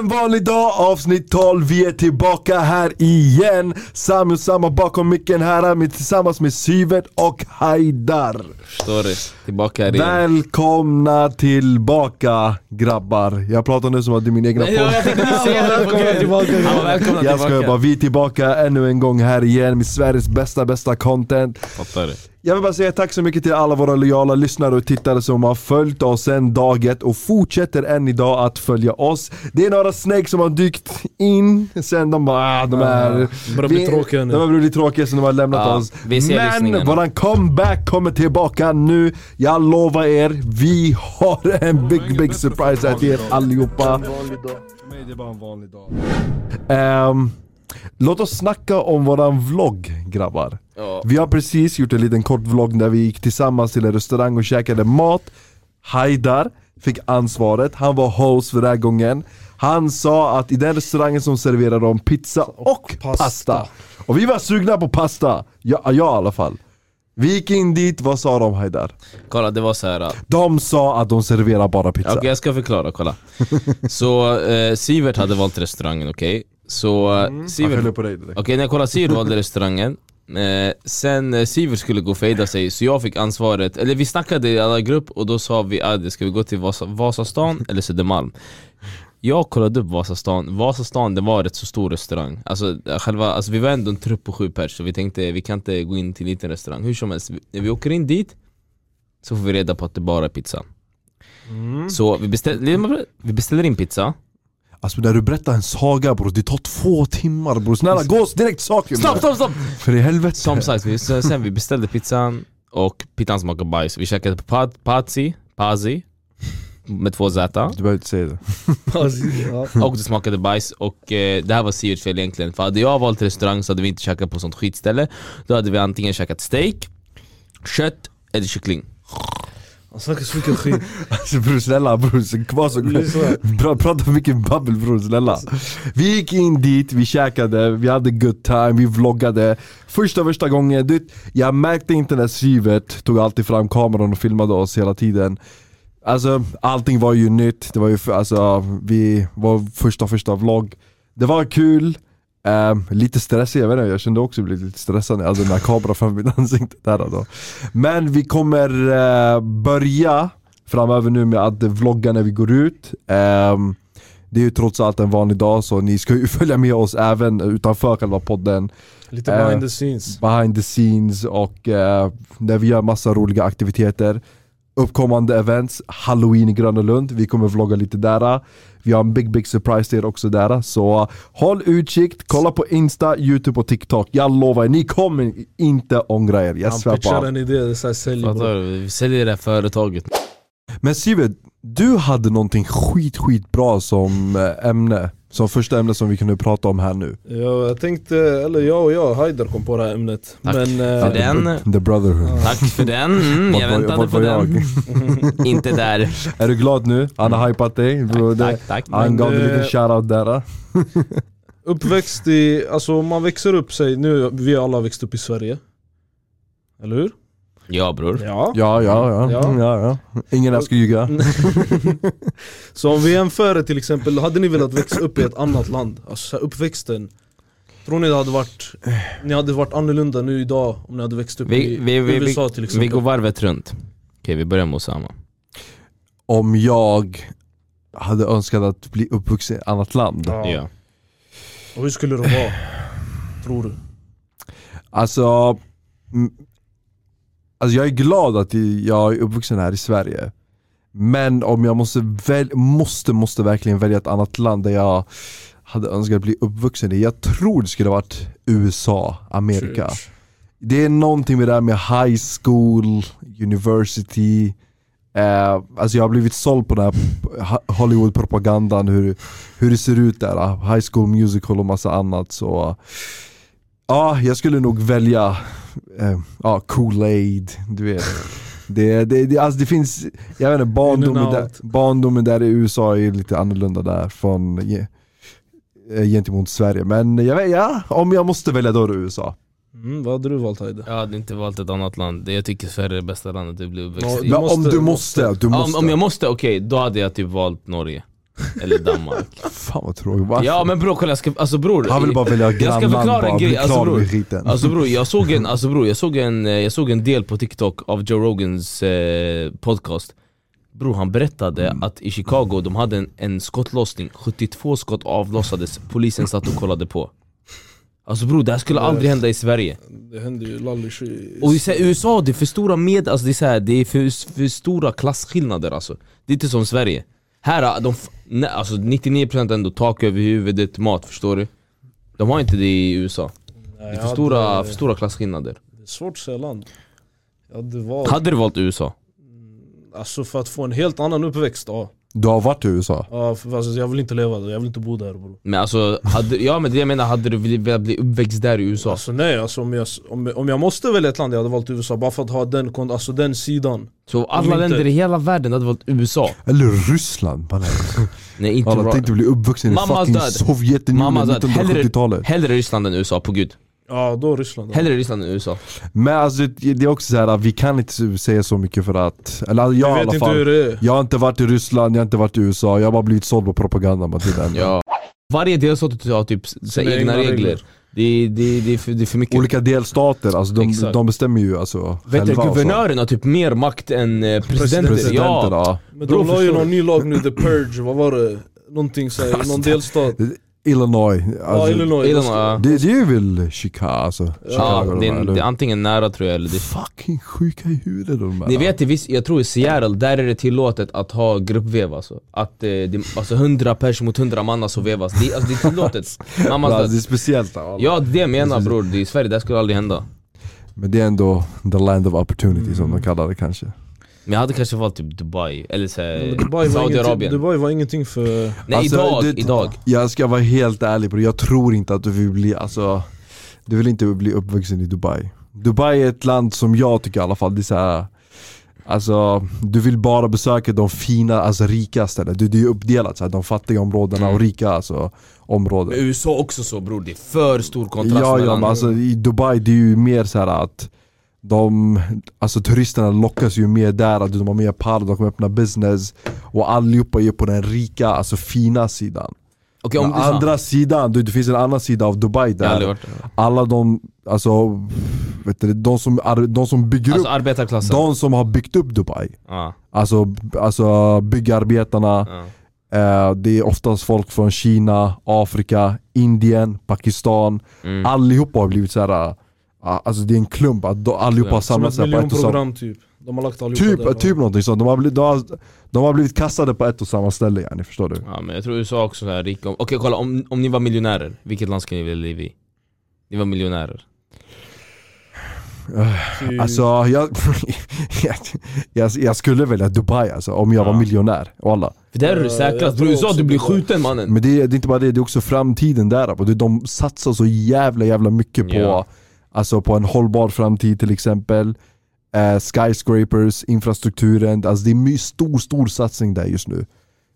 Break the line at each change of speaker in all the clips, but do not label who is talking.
En vanlig dag, avsnitt 12. Vi är tillbaka här igen. Sami och Samma bakom micken här med, tillsammans med Syvert och Haidar.
Förstår du? Tillbaka här igen.
Välkomna tillbaka grabbar. Jag pratar nu som att det är min egna podd.
jag tänkte precis säga det. Okej, tillbaka. Ja, välkomna
Jag skojar bara, vi är tillbaka ännu en gång här igen med Sveriges bästa, bästa content.
Fattar du?
Jag vill bara säga tack så mycket till alla våra lojala lyssnare och tittare som har följt oss sedan dag ett och fortsätter än idag att följa oss. Det är några snägg som har dykt in sen de bara ah, de är...
börjar bli
vi-
tråkiga nu.
De har blivit tråkiga sen de har lämnat
Ja,
oss.
vi ser
Men
lyssningarna.
våran comeback kommer tillbaka nu. Jag lovar er, vi har en big big surprise här till er allihopa. det är bara en vanlig dag. Ehm, låt oss snacka om våran vlogg grabbar.
Ja.
Vi har precis gjort en liten kort vlogg där vi gick tillsammans till en restaurang och käkade mat Haidar fick ansvaret, han var host för den här gången Han sa att i den restaurangen som serverar de pizza och, pasta.
pasta.
Och vi var sugna på pasta, ja, jag i alla fall Vi gick in dit, vad sa de Haidar?
Kolla, det var så här. Okej,
De sa att de serverar bara pizza
jag ska förklara. Kolla. Så eh, Sivert hade valt restaurangen, okej? Så eh,
Jag
Sivert...
skyller
Okej,
på dig direkt
när jag kollade Sivert valde restaurangen. Eh, sen eh, Sivert skulle gå och fejda sig, så jag fick ansvaret. Eller vi snackade i alla grupp och då sa vi att ska vi gå till Vasa, Vasastan eller Södermalm? Jag kollade upp Vasastan, Vasastan det var en rätt så stor restaurang alltså, själva, alltså vi var ändå en trupp på sju pers så vi tänkte vi kan inte gå in till en liten restaurang Hur som helst, vi- när vi åker in dit så får vi reda på att det bara är pizza Så vi, beställ, vi beställer in pizza
Alltså när du berättar en saga bror, det tar två timmar bror Snälla gå direkt till saken
Stopp,
bror.
stopp, stopp!
För i helvete
Som sagt, vi, så- sen vi beställde pizzan och pizzan smakade bajs Vi käkade på pad, pazzi, pazzi med två z
Du behöver inte säga det
Alltså,
Alltså, Och det smakade bajs och eh, det här var Siverts fel egentligen För hade jag valt restaurang så hade vi inte käkat på sånt skitställe Då hade vi antingen käkat steak, kött eller kyckling
Han snackar så mycket skit.
Alltså bror snälla bror, så kvar så
Lyssna.
Bra, Prata mycket babbel bror snälla Vi gick in dit, vi käkade, vi hade good time, vi vloggade Första första gången, du, vet, jag märkte inte när Sivert tog alltid fram kameran och filmade oss hela tiden Alltså allting var ju nytt, det var ju för, alltså, vi, vår första första vlogg Det var kul, Ehm, lite stressig, jag vet inte, jag kände också att jag blev lite stressad när jag hade den här kameran framför mitt ansikte där då. Men vi kommer eh, börja framöver nu med att vlogga när vi går ut Ehm, Det är ju trots allt en vanlig dag så ni ska ju följa med oss även utanför själva podden
Lite
Eh,
behind the scenes.
Behind the scenes och eh, där vi gör massa roliga aktiviteter Uppkommande events, halloween i Gröna Lund, vi kommer vlogga lite där Vi har en big big surprise till er också där Så eh, håll utkik, kolla på Insta, Youtube och TikTok Jag lovar, er, ni kommer inte ångra er, jag
Han
svär på allt.
pitchar en idé, det är såhär sälj bro.
Fattar du? Vi säljer det här företaget
Men Sivert, du hade någonting skit skit bra som eh, ämne Som första ämne som vi kunde prata om här nu
Ja, jag tänkte, eller jag och jag, Haidar kom på det här ämnet.
Tack
Men
för
eh,
det. Den-
The Brotherhood
Tack för den, mm,
Vart
jag
var-
väntade
vart
på
var jag?
den Inte där
Är du glad nu? Han har hypat dig bro, det,
Tack, tack
Han
Men
gav dig
det-
lite shoutout där eh.
uppväxt i, alltså man växer upp sig, nu vi alla har växt upp i Sverige. Eller hur?
Ja bror
Ja.
Ja ja ja,
Ja.
Mm, ja. ja, Ingen här ska ljuga
Så om vi jämför det till exempel, hade ni velat växa upp i ett annat land? Alltså så här, uppväxten. Tror ni det hade varit, ni hade varit annorlunda nu idag om ni hade växt upp
Vi,
i
vi, vi,
USA
vi,
till
vi
exempel?
går varvet runt Okej vi börjar med Osama
Om jag hade önskat att bli uppvuxen i ett annat land
Ja.
Ja
Och hur skulle det vara? Tror du?
Alltså, mm, alltså jag är glad att jag är uppvuxen här i Sverige Men om jag måste, väl, måste, måste verkligen välja ett annat land där jag hade önskat att bli uppvuxen i Jag tror det skulle ha varit USA, Amerika Det är någonting med det här med high school, university eh, Alltså jag har blivit såld på den här ha- Hollywood-propagandan hur, hur det ser ut där, eh, high school musical och massa annat så eh, Ja, jag skulle nog välja eh, ja, Kool-Aid, du vet det, det, det, alltså det finns, jag vet inte, barndomen
In and
där,
out.
barndomen där i USA är lite annorlunda där från ge- eh, gentemot Sverige Men jag vet, ja, om jag måste välja då är det USA
Mm, vad hade du valt Haidar?
Jag hade inte valt ett annat land, Det- jag tycker Sverige är det bästa landet du blir uppväxt
Ja,
i
Du
Men
måste-
om du måste, du
Ja,
måste.
Om, om jag måste, okej, då hade jag typ valt Norge eller Danmark.
Fan vad tråkigt, varför?
ja men bror kolla, jag ska, alltså bror.
Alltså. Han vill bara välja
ska
grannland
förklara en
bara,
grej,
bli
alltså,
klar
bror.
med skiten.
Alltså bror, jag såg en, alltså bror, jag såg en, eh, jag såg en del på TikTok av Joe Rogans eh, podcast Bror han berättade
Mm.
att i Chicago de hade en, en skottlossning, 72 skott avlossades, polisen satt och kollade på Alltså bror det här skulle aldrig hända i Sverige
Det händer ju lallish i...
Och i så här, USA, det är för stora med, alltså det är, så här, det är för, för stora klasskillnader alltså Det är inte som Sverige Här, ah, de, f- nej, alltså 99% ändå tak över huvudet, mat, förstår du? De har inte det i USA
Nej,
det är
jag
för stora,
hade-
för stora klasskillnader.
Det är svårt att säga land. Jag hade valt...
Hade du valt USA?
Alltså för att få en helt annan uppväxt, ja.
Du har varit i USA?
ja för, alltså, jag vill inte leva där, jag vill inte bo där bror.
Men alltså, hade, ja men det jag menar, hade du vel- velat bli uppväxt där i USA?
Alltså nej, alltså, om, jag, om, om jag måste välja ett land, jag hade valt USA bara för att ha den, kon- alltså, den sidan.
Så
Om
alla
inte-
länder i hela världen hade valt USA?
Eller Ryssland? Man är-
Nej inte
Alla
bra.
tänkte bli uppvuxen i
Mammas
fucking
död.
Sovjetunionen
Mammas död. Hellre-
1970-talet
Hellre Ryssland än USA, på gud.
Ja, då Ryssland. ja.
Hellre Ryssland än USA.
Men alltså det det är också så här, vi kan inte säga så mycket för att, eller jag, jag i
Jag
alla
vet inte hur
fall
det är.
Jag har inte varit i Ryssland, jag har inte varit i USA, jag har bara blivit såld på propaganda man, det är det enda.
Ja. Varje delstat har typ sina
Sina
egna,
egna
regler.
regler.
Det, är- det, är- det, är för, det är för mycket.
Olika delstater, alltså de,
Exakt.
de bestämmer ju alltså
Vet du,
själva och så.
guvernören har typ mer makt än eh, presidenter.
Presidenten
Ja.
ja.
Men
Bro,
de la ju
förstår
någon ny lag nu, The Purge, vad var det? Någonting såhär, någon delstat.
Alltså, Illinois,
Ja,
alltså,
Illinois,
Illinois. Illinois.
ja.
Det, det är väl Chicago alltså?
Ja,
Chicago,
det,
de här,
är,
eller
det är
hur?
antingen nära tror jag eller det är
Fucking sjuka i huvudet de här.
Ni vet i viss, jag tror i Seattle, där är det tillåtet att ha gruppvev alltså. Att eh, det, alltså 100 pers mot 100 man alltså vevas, det, alltså, det är tillåtet Mamma
alltså, det
alltså,
är speciellt alla.
Ja det är det jag menar bror, det är i Sverige det här skulle aldrig hända
Men det är ändå the land of opportunity som
Mm.
de kallar det kanske.
Men jag hade kanske valt typ Dubai, eller så här,
Dubai, var ingenting,
Saudiarabien
Dubai var ingenting för...
Nej
Alltså,
idag,
det-
idag
Jag ska vara helt ärlig på det, jag tror inte att du vill bli, alltså, du vill inte bli uppvuxen i Dubai. Dubai är ett land som jag tycker i alla fall, det är så här, Alltså, du vill bara besöka de fina, alltså rika ställena. Det, det är ju uppdelat så här, de fattiga områdena
Mm.
och rika alltså,
Men
områden.
USA också så bror, det är för stor kontrast
Ja, ja
mellan
men alltså i Dubai det är ju mer så här att de, alltså turisterna lockas ju mer där, att de har mer pall, de kommer öppna business och allihopa är på den rika, alltså fina sidan.
Okej om
Men
du sa-
andra sidan, du, det finns en annan sida av Dubai
Jag har aldrig
där
varit där.
alla de, alltså, vet du, de, som, ar- de som bygger
Alltså
upp,
arbetarklassen
de som har byggt upp Dubai
ja,
Alltså, alltså byggarbetarna,
ja.
eh, det är oftast folk från Kina, Afrika, Indien, Pakistan
Mm.
Allihopa har blivit såhär, äh, alltså det är en klump att de, allihopa har
Som
samlats
ett
här på ett och samma
miljonprogram typ. De har lagt allihopa där.
Typ, typ någonting sånt, de har, blivit, de, har, de har blivit kastade på ett och samma ställe yani, förstår du?
Ja men jag tror USA också är rika Okej kolla, om, om ni var miljonärer, vilket land skulle ni vilja leva i? Ni var miljonärer
Typ.
Alltså jag, jag, jag, jag skulle välja Dubai alltså, om jag var
Ja.
miljonär, alla.
För där är
Ja,
du
jag
säkrast,
tror
bror USA
också
du blir
det.
skjuten mannen
Men det, är- det är inte bara det, det är också framtiden där. Och det- De satsar så jävla jävla mycket på,
Ja.
alltså på en hållbar framtid till exempel. Eh, skyscrapers, infrastrukturen, alltså det är en stor stor satsning där just nu.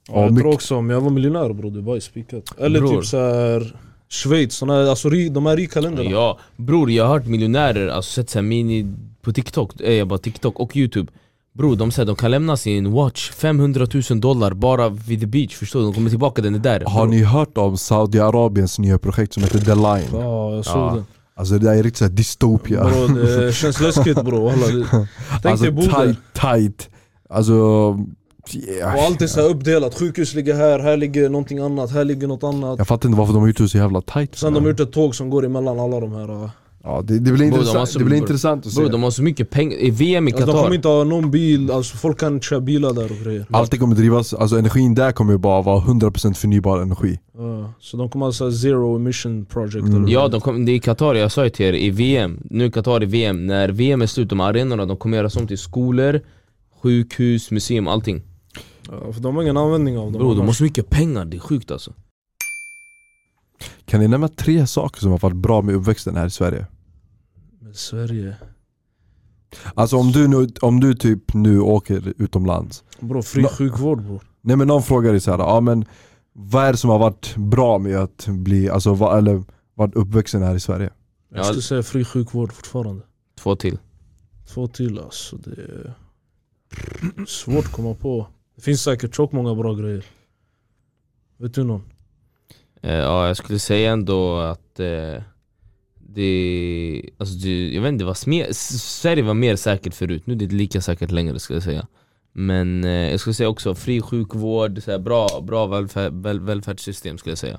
Ja, jag
mycket-
tror också om jag var miljonär bror, Dubai spikat. Eller
Bror.
typ såhär Schweiz, såna, här- alltså ri- de här rika länderna.
Ja, bror jag har hört miljonärer, alltså sett såhär mini på TikTok, eh, jag bara TikTok och youtube Bror de säger de kan lämna sin watch 500 000 dollar bara vid the beach, förstår du? De kommer tillbaka, den är där
Har
Bror,
ni hört om Saudiarabiens nya projekt som heter The Line?
Ja, jag såg
Ja.
den.
Alltså det där är riktigt såhär dystopia.
Bro, det känns läskigt bror walla. Det- Tänk dig bo
alltså
där.
tight, tight. Alltså... yeah.
Och allt är så här uppdelat, sjukhus ligger här, här ligger någonting annat, här ligger något annat.
Jag fattar inte varför de har gjort det så jävla tight.
Sen de har gjort ett tåg som går emellan alla de här. uh.
ja, det, det blir
de har
intressant,
så-
det blir intressant att se.
bror de har så mycket pengar, i VM i
Alltså,
Qatar
de kommer inte ha någon bil, alltså folk kan inte köra bilar där och grejer.
Allt det kommer drivas, alltså energin där kommer ju bara vara 100% förnybar energi.
Ja, så de kommer alltså ha så här zero emission project.
Mm.
eller-
Ja, de kom, det är Qatar, jag sa ju till er, i VM, nu är Qatar i VM, när VM är slut, de här arenorna, de kommer göra om till skolor, sjukhus, museum, allting.
Ja, för de har ingen användning av dem.
Bro, de har så mycket pengar, det är sjukt alltså.
Kan ni nämna tre saker som har varit bra med uppväxten här i Sverige?
Men Sverige.
Alltså om du, nu, om du typ nu åker utomlands.
Bro, fri
Nå-
sjukvård bror.
Nej men någon frågar dig såhär, ja men vad är det som har varit bra med att bli, alltså va, eller varit uppvuxen här i Sverige?
Jag
Ja.
skulle säga fri sjukvård fortfarande.
Två till.
Två till alltså, det är svårt att komma på. Det finns säkert tjockt många bra grejer. Vet du någon?
Eh, Ja, jag skulle säga ändå att eh, det, alltså det, jag vet inte, det var smer, S- Sverige var mer säkert förut, nu är det inte lika säkert längre skulle jag säga. Men eh, jag skulle säga också fri sjukvård, så här, bra, bra välfär, väl, välfärdssystem skulle jag säga.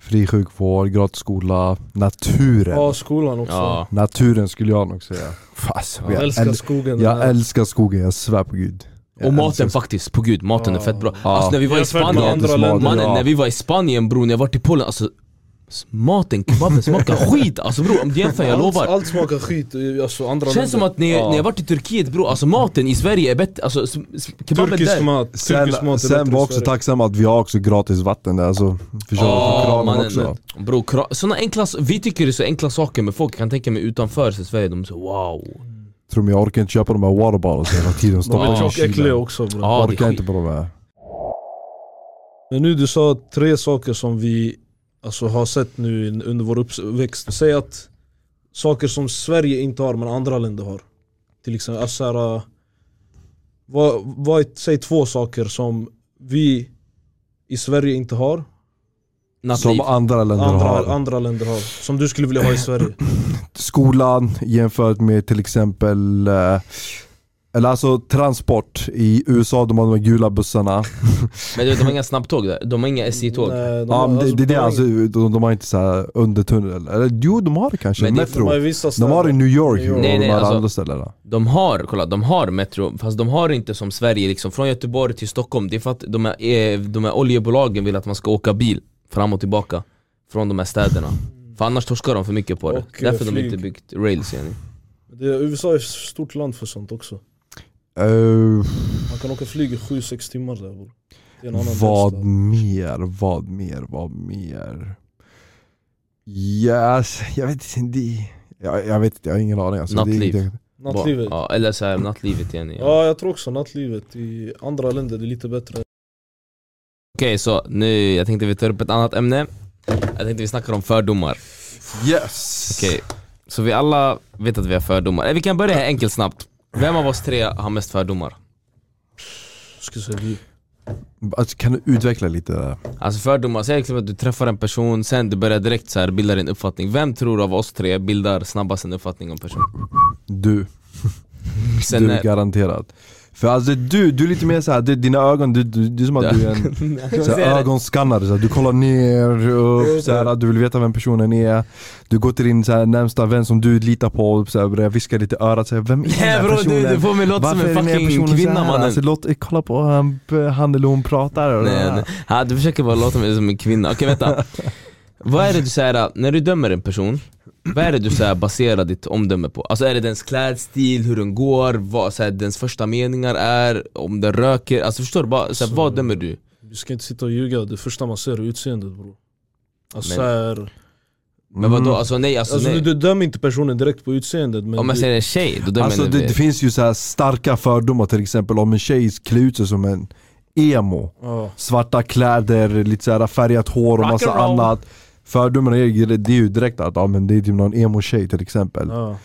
Fri sjukvård, gratis skola, naturen.
Ja, skolan också.
Ja,
Naturen skulle jag nog säga. Fast,
Ja.
jag,
Älskar
äl-
skogen.
jag älskar skogen, jag svär på gud. Jag
och maten
älskar-
faktiskt, på gud maten är
Ja.
fett bra.
Ja.
Alltså när vi var i
Jämfört med
Spanien,
andra länder.
mannen
Ja.
när vi var i Spanien bror, när jag var i Polen, alltså s- maten, kebaben smakar skit! Alltså bror om du jämför, jag
allt,
lovar.
Allt smakar skit. i- Alltså, andra
Känns som
länder.
att när jag, när jag varit i Turkiet bror, alltså maten i Sverige är bättre, alltså s- s- kebaben
Turkisk
där
mat, turkisk
Sen,
mat är
sen
bättre
var
i
också
Sverige.
tacksam att vi har också gratis vatten där, alltså förstår du?
Ja,
Från kranen
mannen.
också.
Bro, kra- såna enkla, vi tycker det är så enkla saker men folk kan tänka mig utanför så Sverige, de säger wow
Tror ni jag orkar inte köpa de här waterbottles hela tiden,
De
stoppa
Ja.
in
är
i
tjockt äckliga
kylen.
också bro.
Ja, det är
Orkar
skit.
inte på de här.
Men nu du sa tre saker som vi alltså, har sett nu in- under vår uppväxt. Säg att saker som Sverige inte har men andra länder har. Till exempel, alltså, så här, äh, vad, vad, är- säg två saker som vi i Sverige inte har,
Nattliv
Som andra länder har.
andra, andra länder har. Som du skulle vilja ha i Sverige.
skolan jämfört med till exempel eh, eller alltså transport. I USA de har de här gula bussarna.
Men du vet, de har inga snabbtåg där, de har inga SJ-tåg
Nej, de
Ja,
har-
men det, det, det, är alltså,
de
de, de har inte så här undertunnel. Eller jo, de har det kanske.
Men det-
Metro.
har ju vissa
De har det i New York
New York.
och
Nej,
de
nej,
här
alltså-
andra ställena.
De har, kolla, de har metro, fast de har inte som Sverige liksom Från Göteborg till Stockholm, det är för att de här, eh, de här oljebolagen vill att man ska åka bil fram och tillbaka Från de här städerna För annars torskar de för mycket på det,
Och, eh,
därför de
flyg.
inte byggt rails yani.
Det är, USA är ett stort land för sånt också.
Eh,
Man kan åka flyg i 7-6 timmar där bror. Det är en annan
vad
världsdel.
mer, vad mer, vad mer? Yes, jag vet inte. det- Jag, jag vet inte, jag har ingen aning. Alltså, Det är
Nattliv.
inte-
Nattlivet.
Ja, eller så här, nattlivet yani. ja.
Ja, jag tror också nattlivet i andra länder det är lite bättre.
Okej så, nu, jag tänkte vi tar upp ett annat ämne Jag tänkte vi snackar om fördomar
yes!
Okej, så vi alla vet att vi har fördomar. Eh, Vi kan börja här enkelt snabbt. Vem av oss tre har mest fördomar?
Jag Ska säga vi.
Alltså, kan du utveckla lite? det där?
Alltså fördomar, säg liksom att du träffar en person, sen du börjar direkt så här bilda din uppfattning. Vem tror av oss tre bildar snabbast en uppfattning om personen?
Du.
Sen
du,
när-
garanterat. För alltså du, du är lite mer såhär, dina ögon, du, du, det är som att du är en så här, ögonskannare. Så här, du kollar ner, upp, så här, du vill veta vem personen är. Du går till din så här, närmsta vän som du litar på och så här, börjar viska lite i örat. Så här, vem är den
Nej
här
bror
personen?
du, du får mig låta som
Varför
en
är den här
fucking
personen så
kvinna
här?
mannen.
Alltså, låt, kolla på hur han, han eller hon pratar. Och
Nej,
det här.
nej. Ja, du försöker bara låta mig som en kvinna. Okej vänta. vad är det du säger äh, när du dömer en person, vad är det du så här, baserar ditt omdöme på? Alltså är det dens klädstil, hur den går, vad så här, dens första meningar är, om den röker? Alltså förstår du? Bara, så här,
Så-
vad dömer du?
Vi ska inte sitta och ljuga, det första man ser är utseendet bror. Alltså,
Men-
så här,
Mm.
Men vadå? Alltså nej, alltså,
alltså
nej.
du, du dömer inte personen direkt på utseendet men,
om jag
du-
säger en tjej, då dömer
Alltså
jag
det, det finns ju så här starka fördomar till exempel om en tjej klär ut sig som en emo.
ja.
svarta kläder, lite så här färgat hår och
Rock
massa
and roll.
annat. Fördomen är det är ju direkt att ja, men det är typ någon emo-tjej till exempel.
Ja.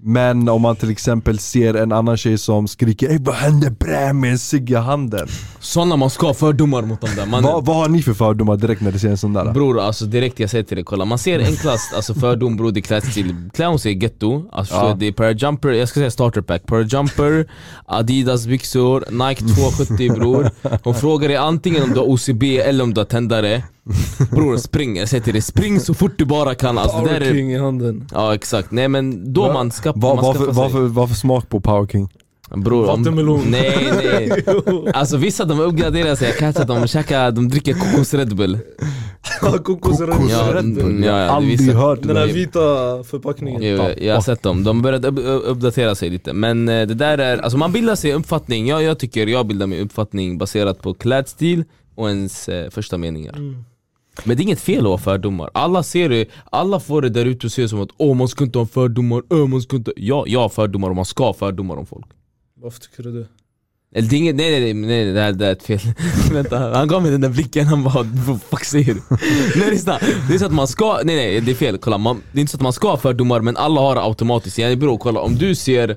Men om man till exempel ser en annan tjej som skriker Ey vad händer bre med en cigg i handen?
Sådana man ska ha fördomar mot dem där mannen.
Vad, vad har ni för fördomar direkt när ni ser en sån där?
Bror alltså direkt jag säger till dig, kolla man ser enklast alltså fördom bror det är klädstil, klär hon sig getto, alltså
Ja.
förstår du? det är pair jumper, jag ska säga starter pack, pair jumper, Adidas byxor, Nike 270 bror Hon frågar dig antingen om du har OCB eller om du har tändare Bror spring, jag säger till dig spring så fort du bara kan alltså, det där
Power
är,
King i handen.
Ja exakt, nej men då
Va?
man ska,
Vad
man
vad
ska
för- vad för- vad för smak på Power King?
Bror,
Vattenmelon.
nej nej Alltså vissa de uppgraderar sig, jag kan inte att de käkar, de dricker kokos Red Bull
Kokosröd.
Ja,
Red Bull.
mm, ja, ja, det
Aldrig
visar-
hört det
Den här
där.
vita förpackningen.
Jo, jag- jag har sett dem, de började upp- upp- uppdatera sig lite Men eh, det där är, alltså man bildar sig en uppfattning, jag, jag tycker jag bildar min uppfattning baserat på klädstil och ens eh, första meningar
Mm.
Men det är inget fel att ha fördomar, alla ser det, alla får det där ute och ser som att åh man ska inte ha fördomar, öh man ska inte Ja, jag har fördomar och man ska ha fördomar om folk
Varför tycker du det?
Eller det är inget, nej nej nej, nej, nej det, här, det här är ett fel Vänta, han gav mig den där blicken, han bara vad fuck säger du? nej lyssna, det är så att man ska, nej nej det är fel, kolla man, det är inte så att man ska ha fördomar men alla har det automatiskt, jag bror kolla om du ser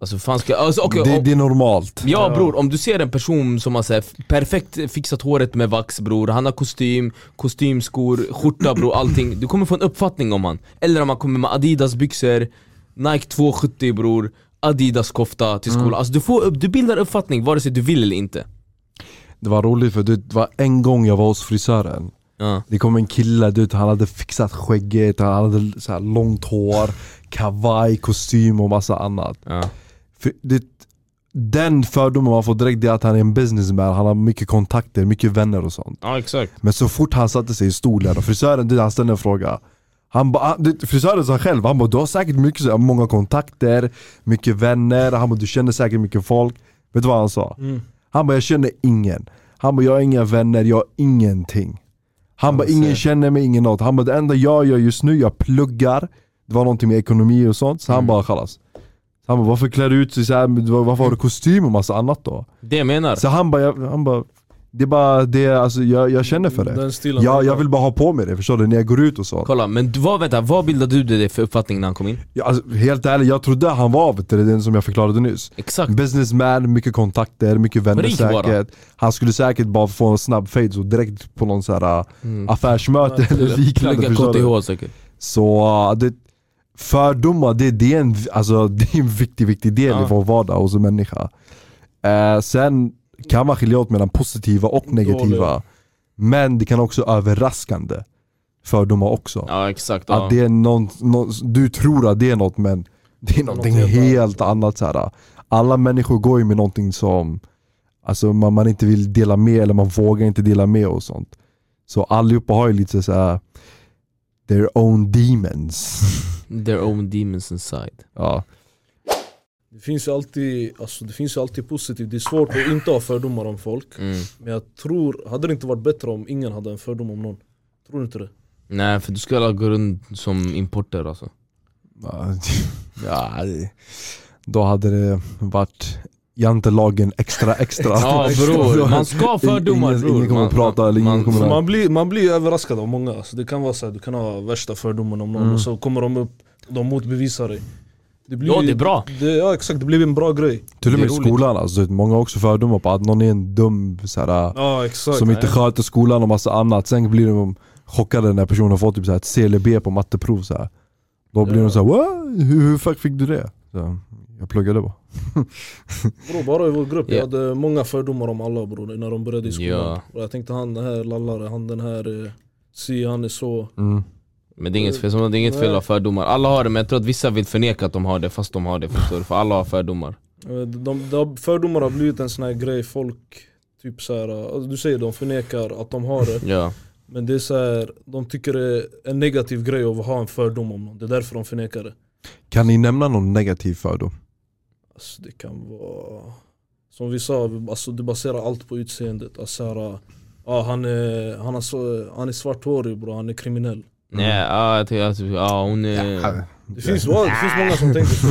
Alltså fan ska, alltså, okej,
det,
om,
det är normalt.
Ja bror, om du ser en person som har så här, perfekt fixat håret med vax bror, han har kostym, kostymskor, skjorta bror, allting Du kommer få en uppfattning om han Eller om han kommer med Adidas byxor, Nike 270 bror, Adidas kofta till skolan Alltså du, får, upp- du bildar uppfattning vare sig du vill eller inte
Det var roligt för du, vet, det var en gång jag var hos frisören
Ja.
Det kom en kille, du vet, han hade fixat skägget, han hade så här långt hår, kavaj, kostym och massa annat.
Ja.
För det, den fördomen man får direkt det är att han är en businessman, han har mycket kontakter, mycket vänner och sånt.
Ja exakt
Men så fort han satte sig i stolen och frisören du, vet, han ställde en fråga han ba, han, du vet, frisören sa själv, han bara du har säkert mycket, så här, många kontakter, mycket vänner, han bara du känner säkert mycket folk. Vet du vad han sa? Han bara jag känner ingen. Han bara jag har inga vänner, jag har ingenting. Han bara ingen känner mig, ingen något. Han bara det enda jag gör just nu, jag pluggar. Det var någonting med ekonomi och sånt. Så han bara chalas. Han bara varför klär du ut dig såhär, varför har du kostym och massa annat då?
Det jag menar
Så han bara, jag- han bara det är bara det, alltså, jag, jag känner för det.
Den stilen.
Jag, jag vill bara ha på mig det, förstår du? När jag går ut och så.
Kolla, men du- vad, vänta, vad bildade du dig för uppfattning när han kom in?
Jag, alltså, helt ärligt, jag trodde han var vet du, den som jag förklarade nyss.
Exakt
Businessman, mycket kontakter, mycket vänner
Rik bara.
säkert. Han skulle säkert bara få en snabb fade så direkt på någon så här mm. affärsmöte eller liknande.
Plugga
förstår du?
KTH säkert
Så uh, det, fördomar, det, det, är en, alltså, det är en viktig, viktig del
Ja.
i vår vardag hos en människa. Eh, sen kan man skilja åt mellan positiva och negativa. Men det kan också vara överraskande fördomar också.
Ja exakt ja.
Att det är någon, någon, du tror att det är något men det är någonting
helt
helt annat. Så här. Alla människor går ju med någonting som alltså, man, man inte vill dela med eller man vågar inte dela med och sånt. Så allihopa har ju lite så här their own demons.
Their own demons inside
ja.
Det finns ju alltid, alltså, det finns ju alltid positivt, det är svårt att inte ha fördomar om folk
mm.
Men jag tror, hade det inte varit bättre om ingen hade en fördom om någon? Tror du inte det?
Nej för du ska gå runt som importer alltså
Ja, Ja, det- då hade det varit jantelagen extra extra.
Ja bror, man ska ha fördomar
ingen,
bror
Ingen kommer
man,
prata eller ingen
För
kommer...
man blir, man blir ju överraskad av många, alltså, det kan vara så här, du kan ha värsta fördomen om någon
Mm.
och så kommer de upp, de motbevisar dig det blir,
Ja,
ju-
det är bra.
Det, ja exakt, det blir en bra grej
Till och
Det
med
är
i
roligt.
skolan, alltså, du vet, många har också fördomar på att någon är en dum så här,
Ja exakt
som inte sköter skolan och massa annat. Sen blir de chockade när personen får typ så här ett CLB på matteprov. Så här. Då blir de så här, "What? hur, hur fuck fick du det? Så, jag pluggade bara.
Bro, bara i vår grupp,
Ja.
jag hade många fördomar om alla bror när de började i skolan
Ja.
och Jag tänkte han den här lallare, han den här eh, si, han är så
Mm.
Men det är inget fel, som- det är inget fel att ha fördomar Alla har det men jag tror att vissa vill förneka att de har det fast de har det förstår du? För alla har fördomar
Eh, De, de fördomar har blivit en sån här grej, folk typ så här, eh, alltså du säger de förnekar att de har det
Ja,
Men det är så här, de tycker det är en negativ grej att ha en fördom om någon, det är därför de förnekar det
Kan ni nämna någon negativ fördom?
Alltså det kan vara, som vi sa, alltså du baserar allt på utseendet alltså, så här, eh, ja, han, är, han, har så, han är svarthårig bror, han är kriminell
nej, ja, jag tycker att, ja hon är...
Det finns, ja, det finns många som tänker så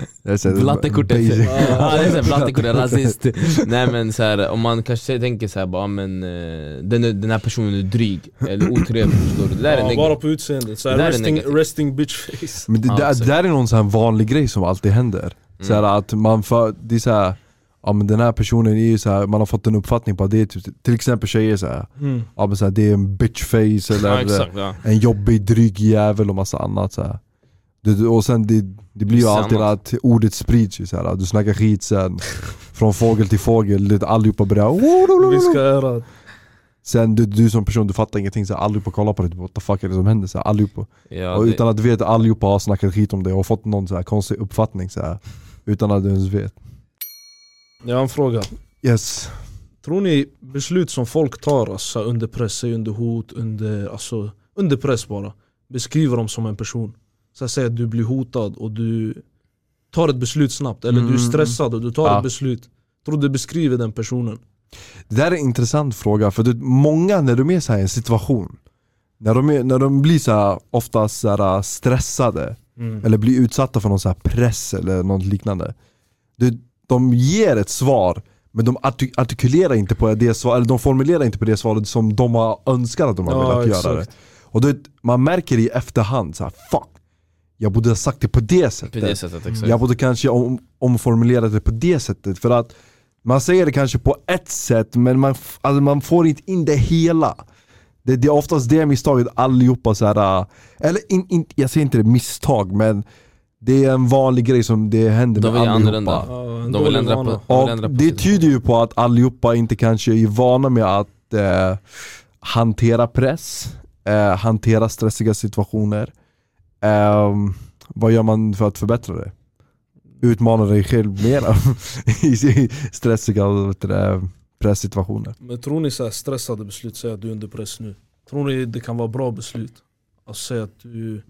Jag säger det-
Blattekortet!
basic.
Ja det är såhär, blattekortet, Alltså, rasist Nej men såhär, om man kanske tänker såhär bara men eh, den, är- den här personen är dryg eller otrevlig förstår du? Det där är
ja, Bara
negativt
på utseendet, så
Det
här,
där är
resting,
negativt.
resting bitch face
Men det
Ja,
där,
exakt.
där är någon så här vanlig grej som alltid händer. Så här att man för, det är så här, ja men den här personen är ju så här, man har fått en uppfattning på att det är typ, till exempel tjejer så här, ja men så här, det är en bitchface eller
Ja exakt ja
en jobbig dryg jävel och massa annat så här. Det, och sen det, det blir ju
Samma.
alltid att ordet sprids ju så här. du snackar skit sen Från fågel till fågel, det, allihopa
Vi ska
börjar
ära
Sen du, du som person, du fattar ingenting, så här, allihopa kollar på dig, typ, what the fuck är det som händer? Så här, allihopa.
Ja,
och
det-
utan att du vet, allihopa har snackat skit om dig och fått någon så här, konstig uppfattning så här, Utan att du ens vet
Jag har en fråga
Yes,
Tror ni beslut som folk tar alltså, under press, säg under hot, under, alltså, under press bara Beskriver dem som en person Så här, Säg att du blir hotad och du tar ett beslut snabbt eller du är
Mm.
stressad och du tar
Ja.
ett beslut Tror du det beskriver den personen?
det där är en intressant fråga för du, vet, många när de är så här i en situation när de, är, när de blir så här, oftast så här, stressade
Mm.
eller blir utsatta för någon så här press eller något liknande. Du, de ger ett svar, men de arti- artikulerar inte på det svar, eller de formulerar inte på det svaret som de har önskat att de har
Ja,
velat göra
exakt.
det. Och du, vet, man märker i efterhand så här, fuck. Jag borde ha sagt det på det
På
sättet.
det sättet exakt.
Mm. Jag borde kanske om, omformulera det på det sättet. För att man säger det kanske på ett sätt, men man, f- alltså man får inte in det hela. Det, det är oftast det misstaget allihopa så här. äh, eller in, in, jag säger inte det misstag, men det är en vanlig grej som det händer
De
med
vill ju
allihopa.
annorlunda.
Ja, en
De vill
dålig
ändra
vana.
på, de vill ändra
Och
på
det
sitt-
tyder ju på att allihopa inte kanske är vana med att eh, hantera press, eh, hantera stressiga situationer. Ehm, vad gör man för att förbättra det? Utmana dig själv mera i stressiga vet du det, pressituationer.
Men tror ni så här stressade beslut, säg att du är under press nu. Tror ni det kan vara bra beslut? Alltså säg att du,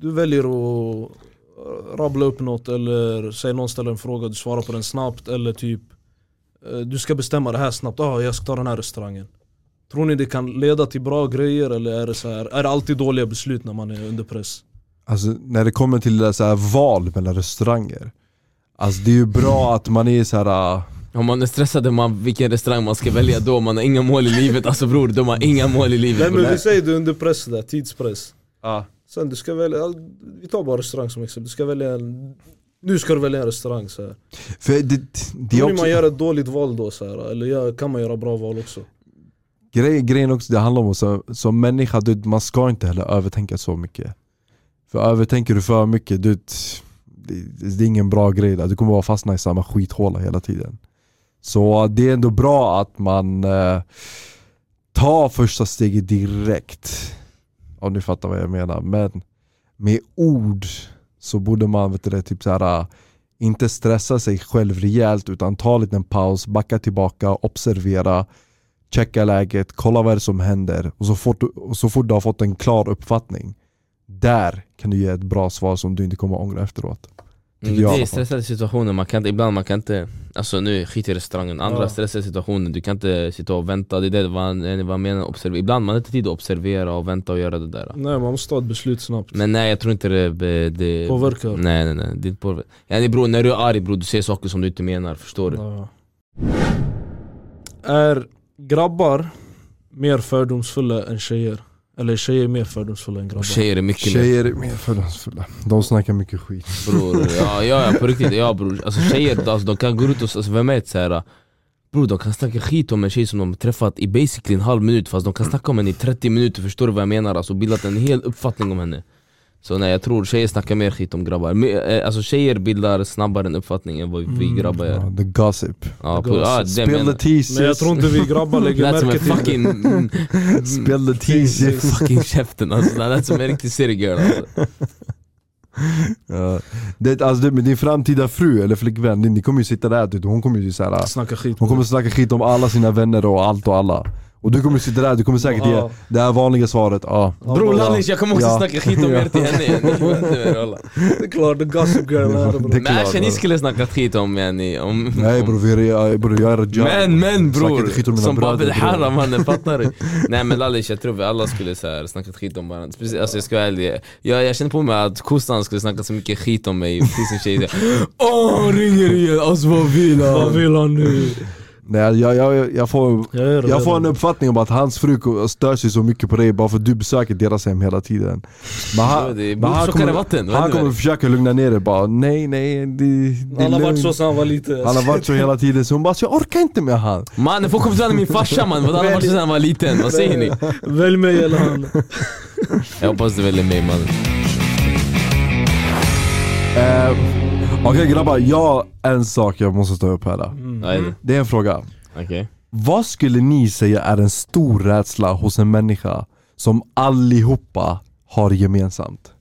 du väljer att rabbla upp något eller säg någon ställer en fråga, du svarar på den snabbt eller typ eh, du ska bestämma det här snabbt, ah, jag ska ta den här restaurangen. Tror ni det kan leda till bra grejer eller är det, så här, är det alltid dåliga beslut när man är under press?
Alltså när det kommer till det där så här val mellan restauranger. Alltså det är ju bra att man är så här. äh,
Om man är stressad om man, vilken restaurang man ska välja då, man har inga mål i livet. Alltså bror, de har inga mål i livet. Mm,
Nej men
bror.
vi säger du är under press där, tidspress.
ah.
Sen du ska välja, vi tar bara restaurang som exempel, du ska välja en, nu ska du välja en restaurang så här.
För det, det, det är
Tror ni
också,
man gör ett dåligt val då så här, eller gör, kan man göra bra val också?
grej, grejen också, det handlar om att så- som människa, du, man ska inte heller övertänka så mycket. För övertänker du för mycket, du, det, det är ingen bra grej. Där. Du kommer vara fastna i samma skithåla hela tiden. Så det är ändå bra att man eh, tar första steget direkt. Om ni fattar vad jag menar. Men med ord så borde man vet du, det, typ så här, inte stressa sig själv rejält utan ta en liten paus, backa tillbaka, observera checka läget, kolla vad det är som händer och så, fort, och så fort du har fått en klar uppfattning, där kan du ge ett bra svar som du inte kommer ångra efteråt.
Mm,
tycker jag i
det är
alla fall.
stressade situationer, man kan inte, ibland man kan inte, alltså nu skit i restaurangen, andra
Ja.
stressade situationer, du kan inte sitta och vänta, det är det vad vad jag menar, observera. ibland man har inte tid att observera och vänta och göra det där.
Nej man måste ta ett beslut snabbt.
Men nej jag tror inte det, be- det
Påverkar.
Nej nej nej, det är inte påverkar. Ja, det är bror, när du är arg bror, du säger saker som du inte menar, förstår du?
Ja. Är grabbar mer fördomsfulla än tjejer? Eller är tjejer mer fördomsfulla än grabbar?
Och tjejer är mycket mer
Tjejer är mer fördomsfulla, de snackar mycket skit.
bror, ja, ja ja, på riktigt, ja bror. Alltså tjejer, alltså, de kan gå ut och, s- alltså vem vet såhär Bror de kan snacka skit om en tjej som de har träffat i basically en halv minut fast de kan snacka om henne i 30 minuter, förstår du vad jag menar? Alltså bildat en hel uppfattning om henne Så nej jag tror tjejer snackar mer skit om grabbar, Me- eh, alltså tjejer bildar snabbare en uppfattning än vad vi
Mm,
grabbar gör
Ja, the gossip.
Ja,
The
på, ja det jag
Spill
menar
the tea sis.
Men jag tror inte vi grabbar lägger
Lät som en
märke till det.
fucking... mm,
Spill the tea
mm,
sis.
fucking käften alltså, det lät som en riktig city girl alltså.
Ja. Det, alltså, det, med din framtida fru eller flickvän, ni, ni kommer ju sitta där typ, hon kommer ju så här,
Snacka skit.
hon kommer snacka skit om alla sina vänner och allt och alla. Och du kommer sitta där, du kommer säkert ge
Ja.
det här vanliga svaret, ja.
Bror Lannis, jag kommer också
Ja.
snacka skit om er till henne jag vet inte vad jag håller.
Det är klart, the gossip girl är det
Det-
bro.
Men
klart,
Asha ni
bror.
skulle snacka skit om yani, om...
Nej
om-
bror, vi är, bror jag är rajab.
Mm. Men men
Snacka inte skit om
bror!
mina
Som
bröder,
Babel
bror.
Haram mannen, fattar du? Nej men Lallish jag tror vi alla skulle så här, snacka skit om varandra, Precis, alltså jag ska vara ärlig jag, jag känner på mig att kossan skulle snacka så mycket skit om mig, precis som tjejer Åh han ringer igen, alltså vad vill
Vad
han?
vill han nu?
Nej jag, jag, jag, får,
Jag, är
jag får
redan-
en uppfattning om att hans fru ko- stör sig så mycket på dig bara för att du besöker deras hem hela tiden. Men
Ja,
han,
det är
men han
tjockare
kommer,
vatten, vad
han
händer
kommer
där?
försöka lugna ner dig bara, nej nej det, det är
Han har varit så
lugnt.
sen han var liten.
Han har varit så hela tiden, så hon bara så jag orkar inte med han.
Mannen folk kommer tro att han är min farsa man, vad han har varit sedan han var liten, vad säger ni?
Välj mig eller han.
Jag hoppas du väljer mig mannen
Eh, Okej grabbar, jag har en sak jag måste ta upp här. då.
Mm.
Ja, är det?
Det är en fråga.
Okej
Vad skulle ni säga är en stor rädsla hos en människa som allihopa har gemensamt?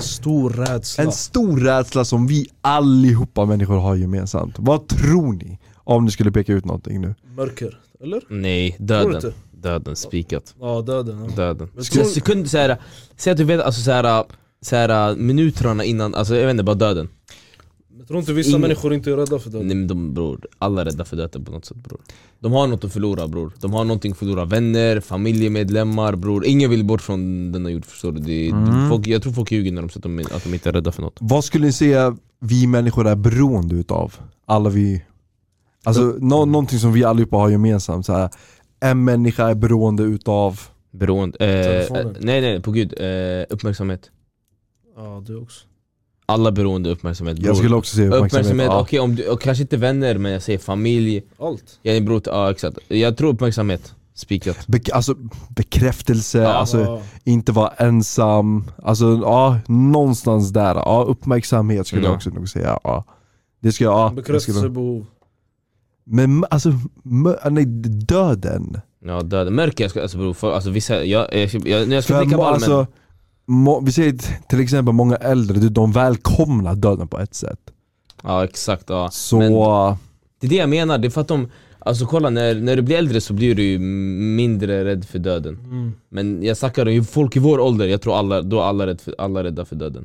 Stor rädsla.
En stor rädsla som vi allihopa människor har gemensamt. Vad tror ni? Om ni skulle peka ut någonting nu.
Mörker, eller?
Nej,
Tror du
döden,
inte?
döden, spikat
Ja, döden. Ja.
Döden.
Men
Skulle
tror-
sekund, så här, säg att du vet, alltså så här, så här, minuterna innan, alltså jag vet inte, bara döden.
Jag tror inte vissa
Ingen-
människor inte är rädda för
Mm.
döden.
Nej men de bror, alla är rädda för döden på något sätt bror. De har något att förlora bror. De har någonting att förlora, vänner, familjemedlemmar bror. Ingen vill bort från denna jord förstår du. Det,
Mm.
folk, jag tror folk ljuger när de säger att de, att de inte är rädda för något.
Vad skulle ni säga vi människor är beroende utav? Alla vi... Alltså nå- någonting som vi allihopa har gemensamt. Så här, en människa är beroende utav...
Beroende, eh, eh,
Telefonen.
nej nej på gud, eh, uppmärksamhet.
Ja, du också.
Alla beroende uppmärksamhet bror.
Jag skulle också säga uppmärksamhet.
Uppmärksamhet,
ja.
okej om du, och kanske inte vänner men jag säger familj,
Allt.
jag är bror, till- ja exakt. Jag tror uppmärksamhet, spikat.
Bek- alltså bekräftelse,
Ja.
alltså
Ja.
inte vara ensam. Alltså ja, någonstans där. Ja, uppmärksamhet skulle
Ja.
jag också nog säga. Ja. Det ska jag, ja. det Skulle,
Bekräftelsebehov.
men alltså, mö- nej, döden.
Ja döden, mörker, jag ska, alltså bror, för, alltså vissa, jag, jag, jag, jag, jag ska
För
dricka
må-
Malmen
alltså, må, vi säger t- till exempel många äldre, du, de välkomnar döden på ett sätt.
Ja exakt ja.
Så, mm,
Men- Det är det jag menar, det är för att de, alltså kolla när, när du blir äldre så blir du ju mindre rädd för döden
Mm.
Men jag snackar om ju folk i vår ålder, jag tror alla, då är alla, rädd för, alla rädda för döden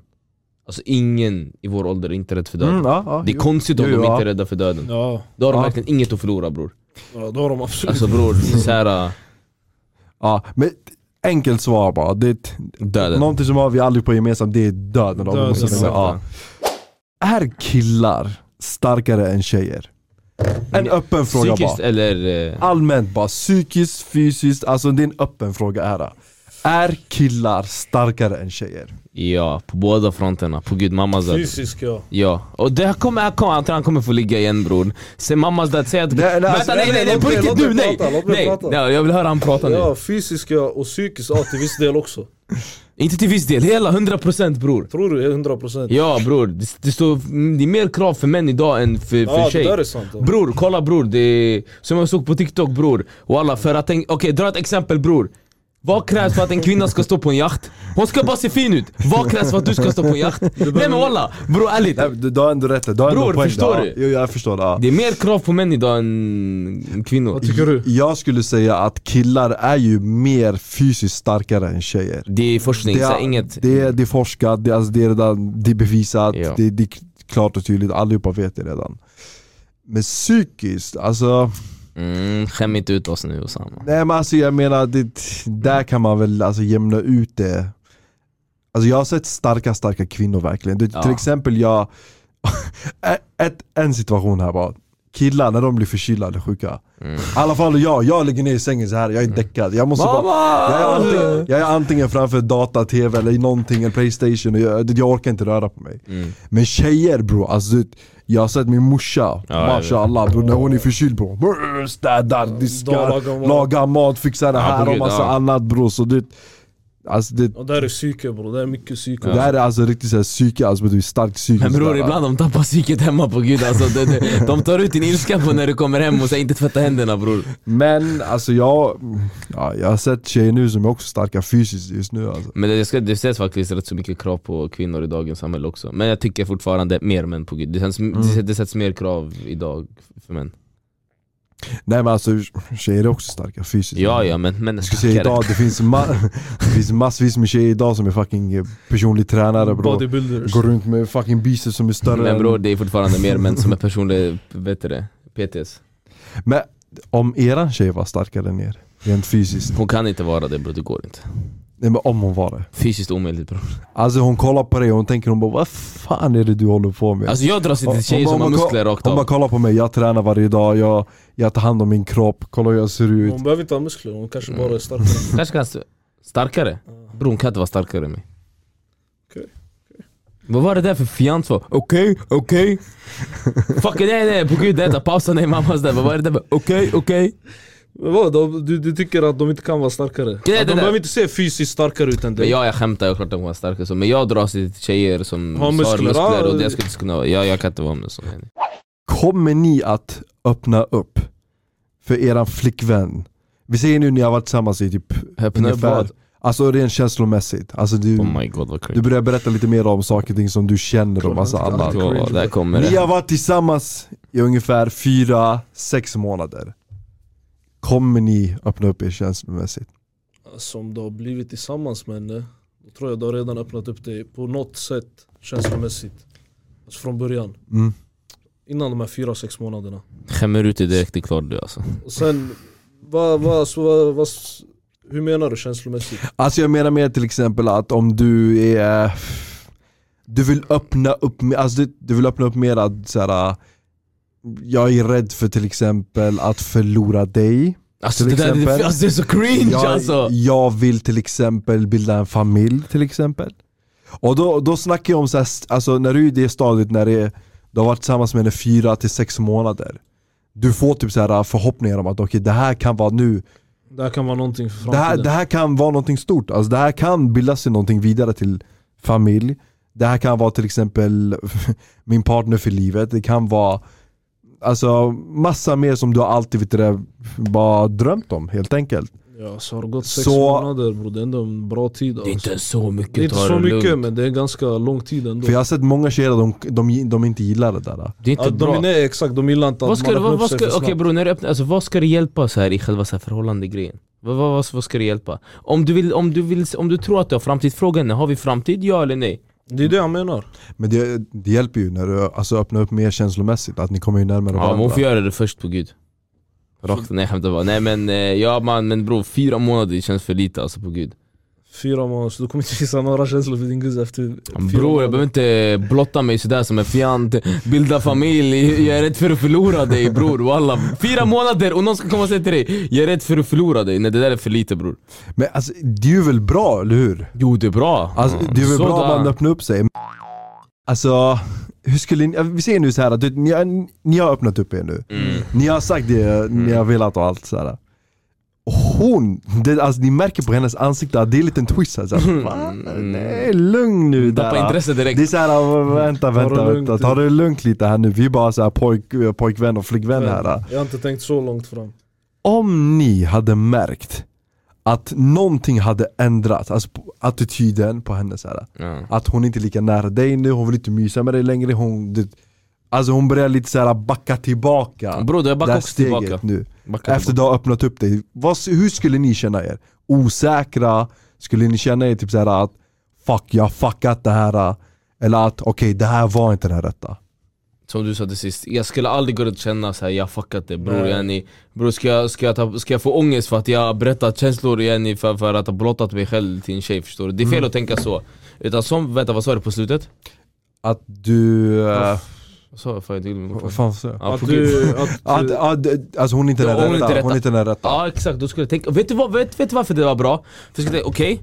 Alltså ingen i vår ålder är inte rädd för döden
mm, ja, ja,
Det är
jo.
konstigt om
Jo,
de
ja.
inte är rädda för döden
Ja.
Då har de
Ja.
verkligen inget att förlora bror
ja, då har de absolut
Alltså bror, såhär,
Ja, men enkelt svar bara. Det är ett-
döden
Någonting som har vi aldrig på gemensamt, det är döden. Om vi måste
Döden,
säga. Ja. Är killar starkare än tjejer? En
Men-
öppen fråga
Psykiskt
bara.
eller... eh,
Allmänt bara, psykiskt, fysiskt, alltså det är en öppen fråga här. Är killar starkare än tjejer?
Ja, på båda fronterna, på gud mammas död
fysisk ja.
Ja, och det här kommer, här kommer, jag tror han kommer få ligga igen bror Sen mammas död, säg att...
Nej, nej, alltså,
Vänta nej nej nej,
låt
på
mig-
riktigt nu,
låt mig
nej!
prata, låt mig
Nej,
prata.
ja, jag vill höra han prata nu
Ja, fysisk ja och psykisk ja till viss del också.
Inte till viss del, hela 100% bror
Tror du 100%?
Ja bror, det, det, står, det är mer krav för män idag än för, för
Ja, det
tjej
där är sant. ja.
Bror, kolla bror, det är, som jag såg på TikTok bror Walla, för att en, okej dra ett exempel bror vad krävs för att en kvinna ska stå på en yacht? Hon ska bara se fin ut! Vad krävs för att du ska stå på en yacht? Nej men walla, bror ärligt!
Nej, du, du har ändå rätt där. du har ändå
Bror,
poäng
förstår
där.
du?
Ja. Jo, jag förstår det. Ja.
Det är mer krav på män idag än kvinnor
Vad tycker du?
Jag skulle säga att killar är ju mer fysiskt starkare än tjejer.
Det är forskning, så inget...
det, är- det är forskat, det, är- alltså, det är redan det är bevisat,
Ja.
det, det är klart och tydligt, allihopa vet det redan. Men psykiskt, alltså,
Mm, skäm inte ut oss nu Osama
nej men alltså jag menar, det, där kan man väl alltså, jämna ut det. Alltså jag har sett starka, starka kvinnor verkligen. Du, Till
Ja.
exempel jag, ett, en situation här bara. Killar när de blir förkylda eller sjuka.
Mm.
I alla fall jag, jag ligger ner i sängen så här. jag är däckad. Jag måste bara, jag är, antingen, jag är antingen framför data, tv eller i någonting, eller playstation. Och jag, jag orkar inte röra på mig.
Mm.
Men tjejer bro, alltså du- jag har sett min morsa,
jag
mashallah bro, när hon är förkyld bro. Brr, Städar, diskar,
lagar mat.
lagar mat, fixar det
Ja, på
här och
Gud,
massa
ja.
annat bro. Så det, alltså det,
Och där är psyke bror, där är mycket psyke.
det här är alltså riktigt såhär psyke, alltså du är stark psyke.
Men bror
sådär.
ibland de tappar psyket hemma på gud alltså de, de, de tar ut din ilska på när du kommer hem och säger inte tvätta händerna bror
Men alltså jag, ja, jag har sett tjejer nu som är också starka fysiskt just nu alltså.
Men det, ska, det ställs faktiskt rätt så mycket krav på kvinnor i dagens samhälle också Men jag tycker fortfarande mer män på gud, det, känns, det, det sätts mer krav idag för män
Nej men alltså tjejer är också starka fysiskt.
Ja ja men män är
Jag skulle säga
starkare.
idag, det finns, ma- det finns massvis med tjejer idag som är fucking eh, personlig tränare bro.
Bodybuilders.
Går runt med fucking biceps som är större
Men
än-
bror det är fortfarande mer män som är personlig, vet du det? PTS
Men om eran tjej var starkare än er, rent fysiskt.
Hon kan inte vara det bror, det går inte
Nej men om hon var det.
Fysiskt omöjligt bror
Alltså hon kollar på dig och hon tänker hon bara vad fan är det du håller på med?
Alltså jag dras inte till tjejer
Hon
som
bara-
har
hon bara-
muskler rakt
Hon bara
av
kollar på mig, jag tränar varje dag, jag, jag tar hand om min kropp, kolla hur jag ser ut.
Hon behöver inte ha muskler, hon kanske bara är starkare.
Kanske kan st- starkare? Bror hon kan inte vara starkare än mig
Okej,
Vad var det där för fjant var? Okej, okej Fuck nej nej, på gud detta, pausa nej mammas där, vad var det där för? Okej, okej
Men vad, de, du, du tycker att de inte kan vara starkare? Att
det
de
där.
behöver inte se fysiskt starkare ut än
Men
dig.
jag, jag skämtar, jag klart de kan vara starkare så, men jag dras till tjejer som
Har
har muskler,
muskler, ja.
och det skulle inte kunna vara, jag, jag kan inte vara med sån nej, nej.
Kommer ni att öppna upp för eran flickvän? Vi säger nu ni har varit tillsammans i typ
Öppna upp
ungefär,
vad?
alltså rent känslomässigt. Alltså du,
Oh my god vad
du
cringe
börjar berätta lite mer om saker och ting som du känner och massa annat.
Ja, Där kommer
Ni
det
har varit tillsammans i ungefär 4-6 månader. Kommer ni öppna upp er känslomässigt?
Alltså, om du har blivit tillsammans med henne, då tror jag du har redan öppnat upp dig på något sätt känslomässigt. Alltså från början.
Mm.
Innan de här fyra, sex månaderna.
Skämmer ut dig direkt, det är klart du alltså
Och sen, vad, vad, så, vad, vad, hur menar du känslomässigt?
Alltså jag menar mer till exempel att om du är... Du vill öppna upp, me- alltså du, du vill öppna upp mer att så här, jag är rädd för till exempel att förlora dig.
Alltså det
Till
där, det,
exempel-
alltså, det är så cringe
Jag,
alltså
jag vill till exempel bilda en familj till exempel. Och då, då snackar jag om så här, alltså när du är i det stadiet när det är, du har varit tillsammans med henne fyra till sex månader. Du får typ så här förhoppningar om att okej det här kan vara nu,
Det här kan vara någonting för
det här,
framtiden.
det här kan vara någonting stort. Alltså det här kan bilda sig någonting vidare till familj. Det här kan vara till exempel min partner för livet. Det kan vara alltså, massa mer som du alltid vet du det, bara drömt om helt enkelt.
Ja, så har det gått sex
Så-
månader bror, det är ändå en bra tid
Det är
alltså.
inte så mycket,
Det är inte
ta
så
det
mycket
lugnt.
men det är ganska lång tid ändå.
För jag har sett många tjejer de, de, de inte gillar det där.
Det är inte
Ja,
bra.
de, nej exakt, de gillar inte
Vad
att
ska,
man
det-
öppnar
vad,
upp
vad
sig för
ska,
snabbt.
okay, bro, när du öppnar, alltså, vad ska det hjälpa så här i själva så här förhållande-grejen? Vad, vad, vad, vad ska det hjälpa? Om du, vill, om, du vill, om du tror att du har framtid, frågan är har vi framtid, ja eller nej?
Det är det jag menar.
Men det, det hjälper ju när du alltså, öppnar upp mer känslomässigt, att ni kommer ju närmare
Ja, men hon
varandra.
får göra det först på gud Rakt, nej jag skämtar bara, nej men eh, ja man, men bro, fyra månader det känns för lite alltså på gud
Fyra månader, så du kommer inte visa några känslor för din guzz efter fyra
Bror jag behöver inte blotta mig sådär som en fjant, bilda familj, jag är rädd för att förlora dig bror walla Fyra månader och någon ska komma och säga till dig, jag är rädd för att förlora dig, nej det där är för lite bror
Men alltså, det är ju väl bra, eller hur?
Jo det är bra!
Alltså, det är väl bra om
Sådär.
man öppnar upp sig. Alltså, hur skulle ni, vi säger nu så här att du, ni, har, ni har öppnat upp er nu.
Mm.
Ni har sagt det ni har velat och allt så här. Hon, det, alltså ni märker på hennes ansikte att det är en liten twist här. Så här va? Nej, lugn nu
Mm. Tappa
där.
intresse direkt
Det är såhär, vänta
det
vänta,
lugnt
vänta.
nu.
ta det lugnt lite här nu. Vi är bara så här pojk, pojkvän och flickvän här.
Jag har inte tänkt så långt fram.
Om ni hade märkt att någonting hade ändrats, alltså på- attityden på henne så här.
ja.
Att hon inte är lika nära dig nu, hon vill inte mysa med dig längre. Hon, det, alltså hon börjar lite såhär backa tillbaka.
Bror jag
det
backar
här
också
steget
tillbaka
nu.
Backa
Efter
tillbaka.
du har öppnat upp dig, vad, hur skulle ni känna er? Osäkra? Skulle ni känna er typ såhär att Fuck, jag har fuckat det här Eller att okej, det här var inte den rätta
Som du sa till sist, jag skulle aldrig gå runt och känna såhär jag har fuckat det bror
Nej.
yani Bror ska jag, ska, jag ta, ska jag få ångest för att jag har berättat känslor yani för, för att ha blottat mig själv till en tjej förstår du? Det är fel
Mm.
att tänka så Utan som, vänta vad sa du på slutet?
Att du... eh,
Vad sa jag? Fan, jag tog min
Vad
mikrofon.
fan sa jag?
Ja,
att
på gud.
du,
Att,
att,
att, alltså hon är inte
Ja,
den
hon är inte
rätta, hon
rätta.
är inte den rätta
Ja exakt, då skulle jag tänka, vet du, vad, vet, vet du varför det var bra? För jag skulle tänka, okej,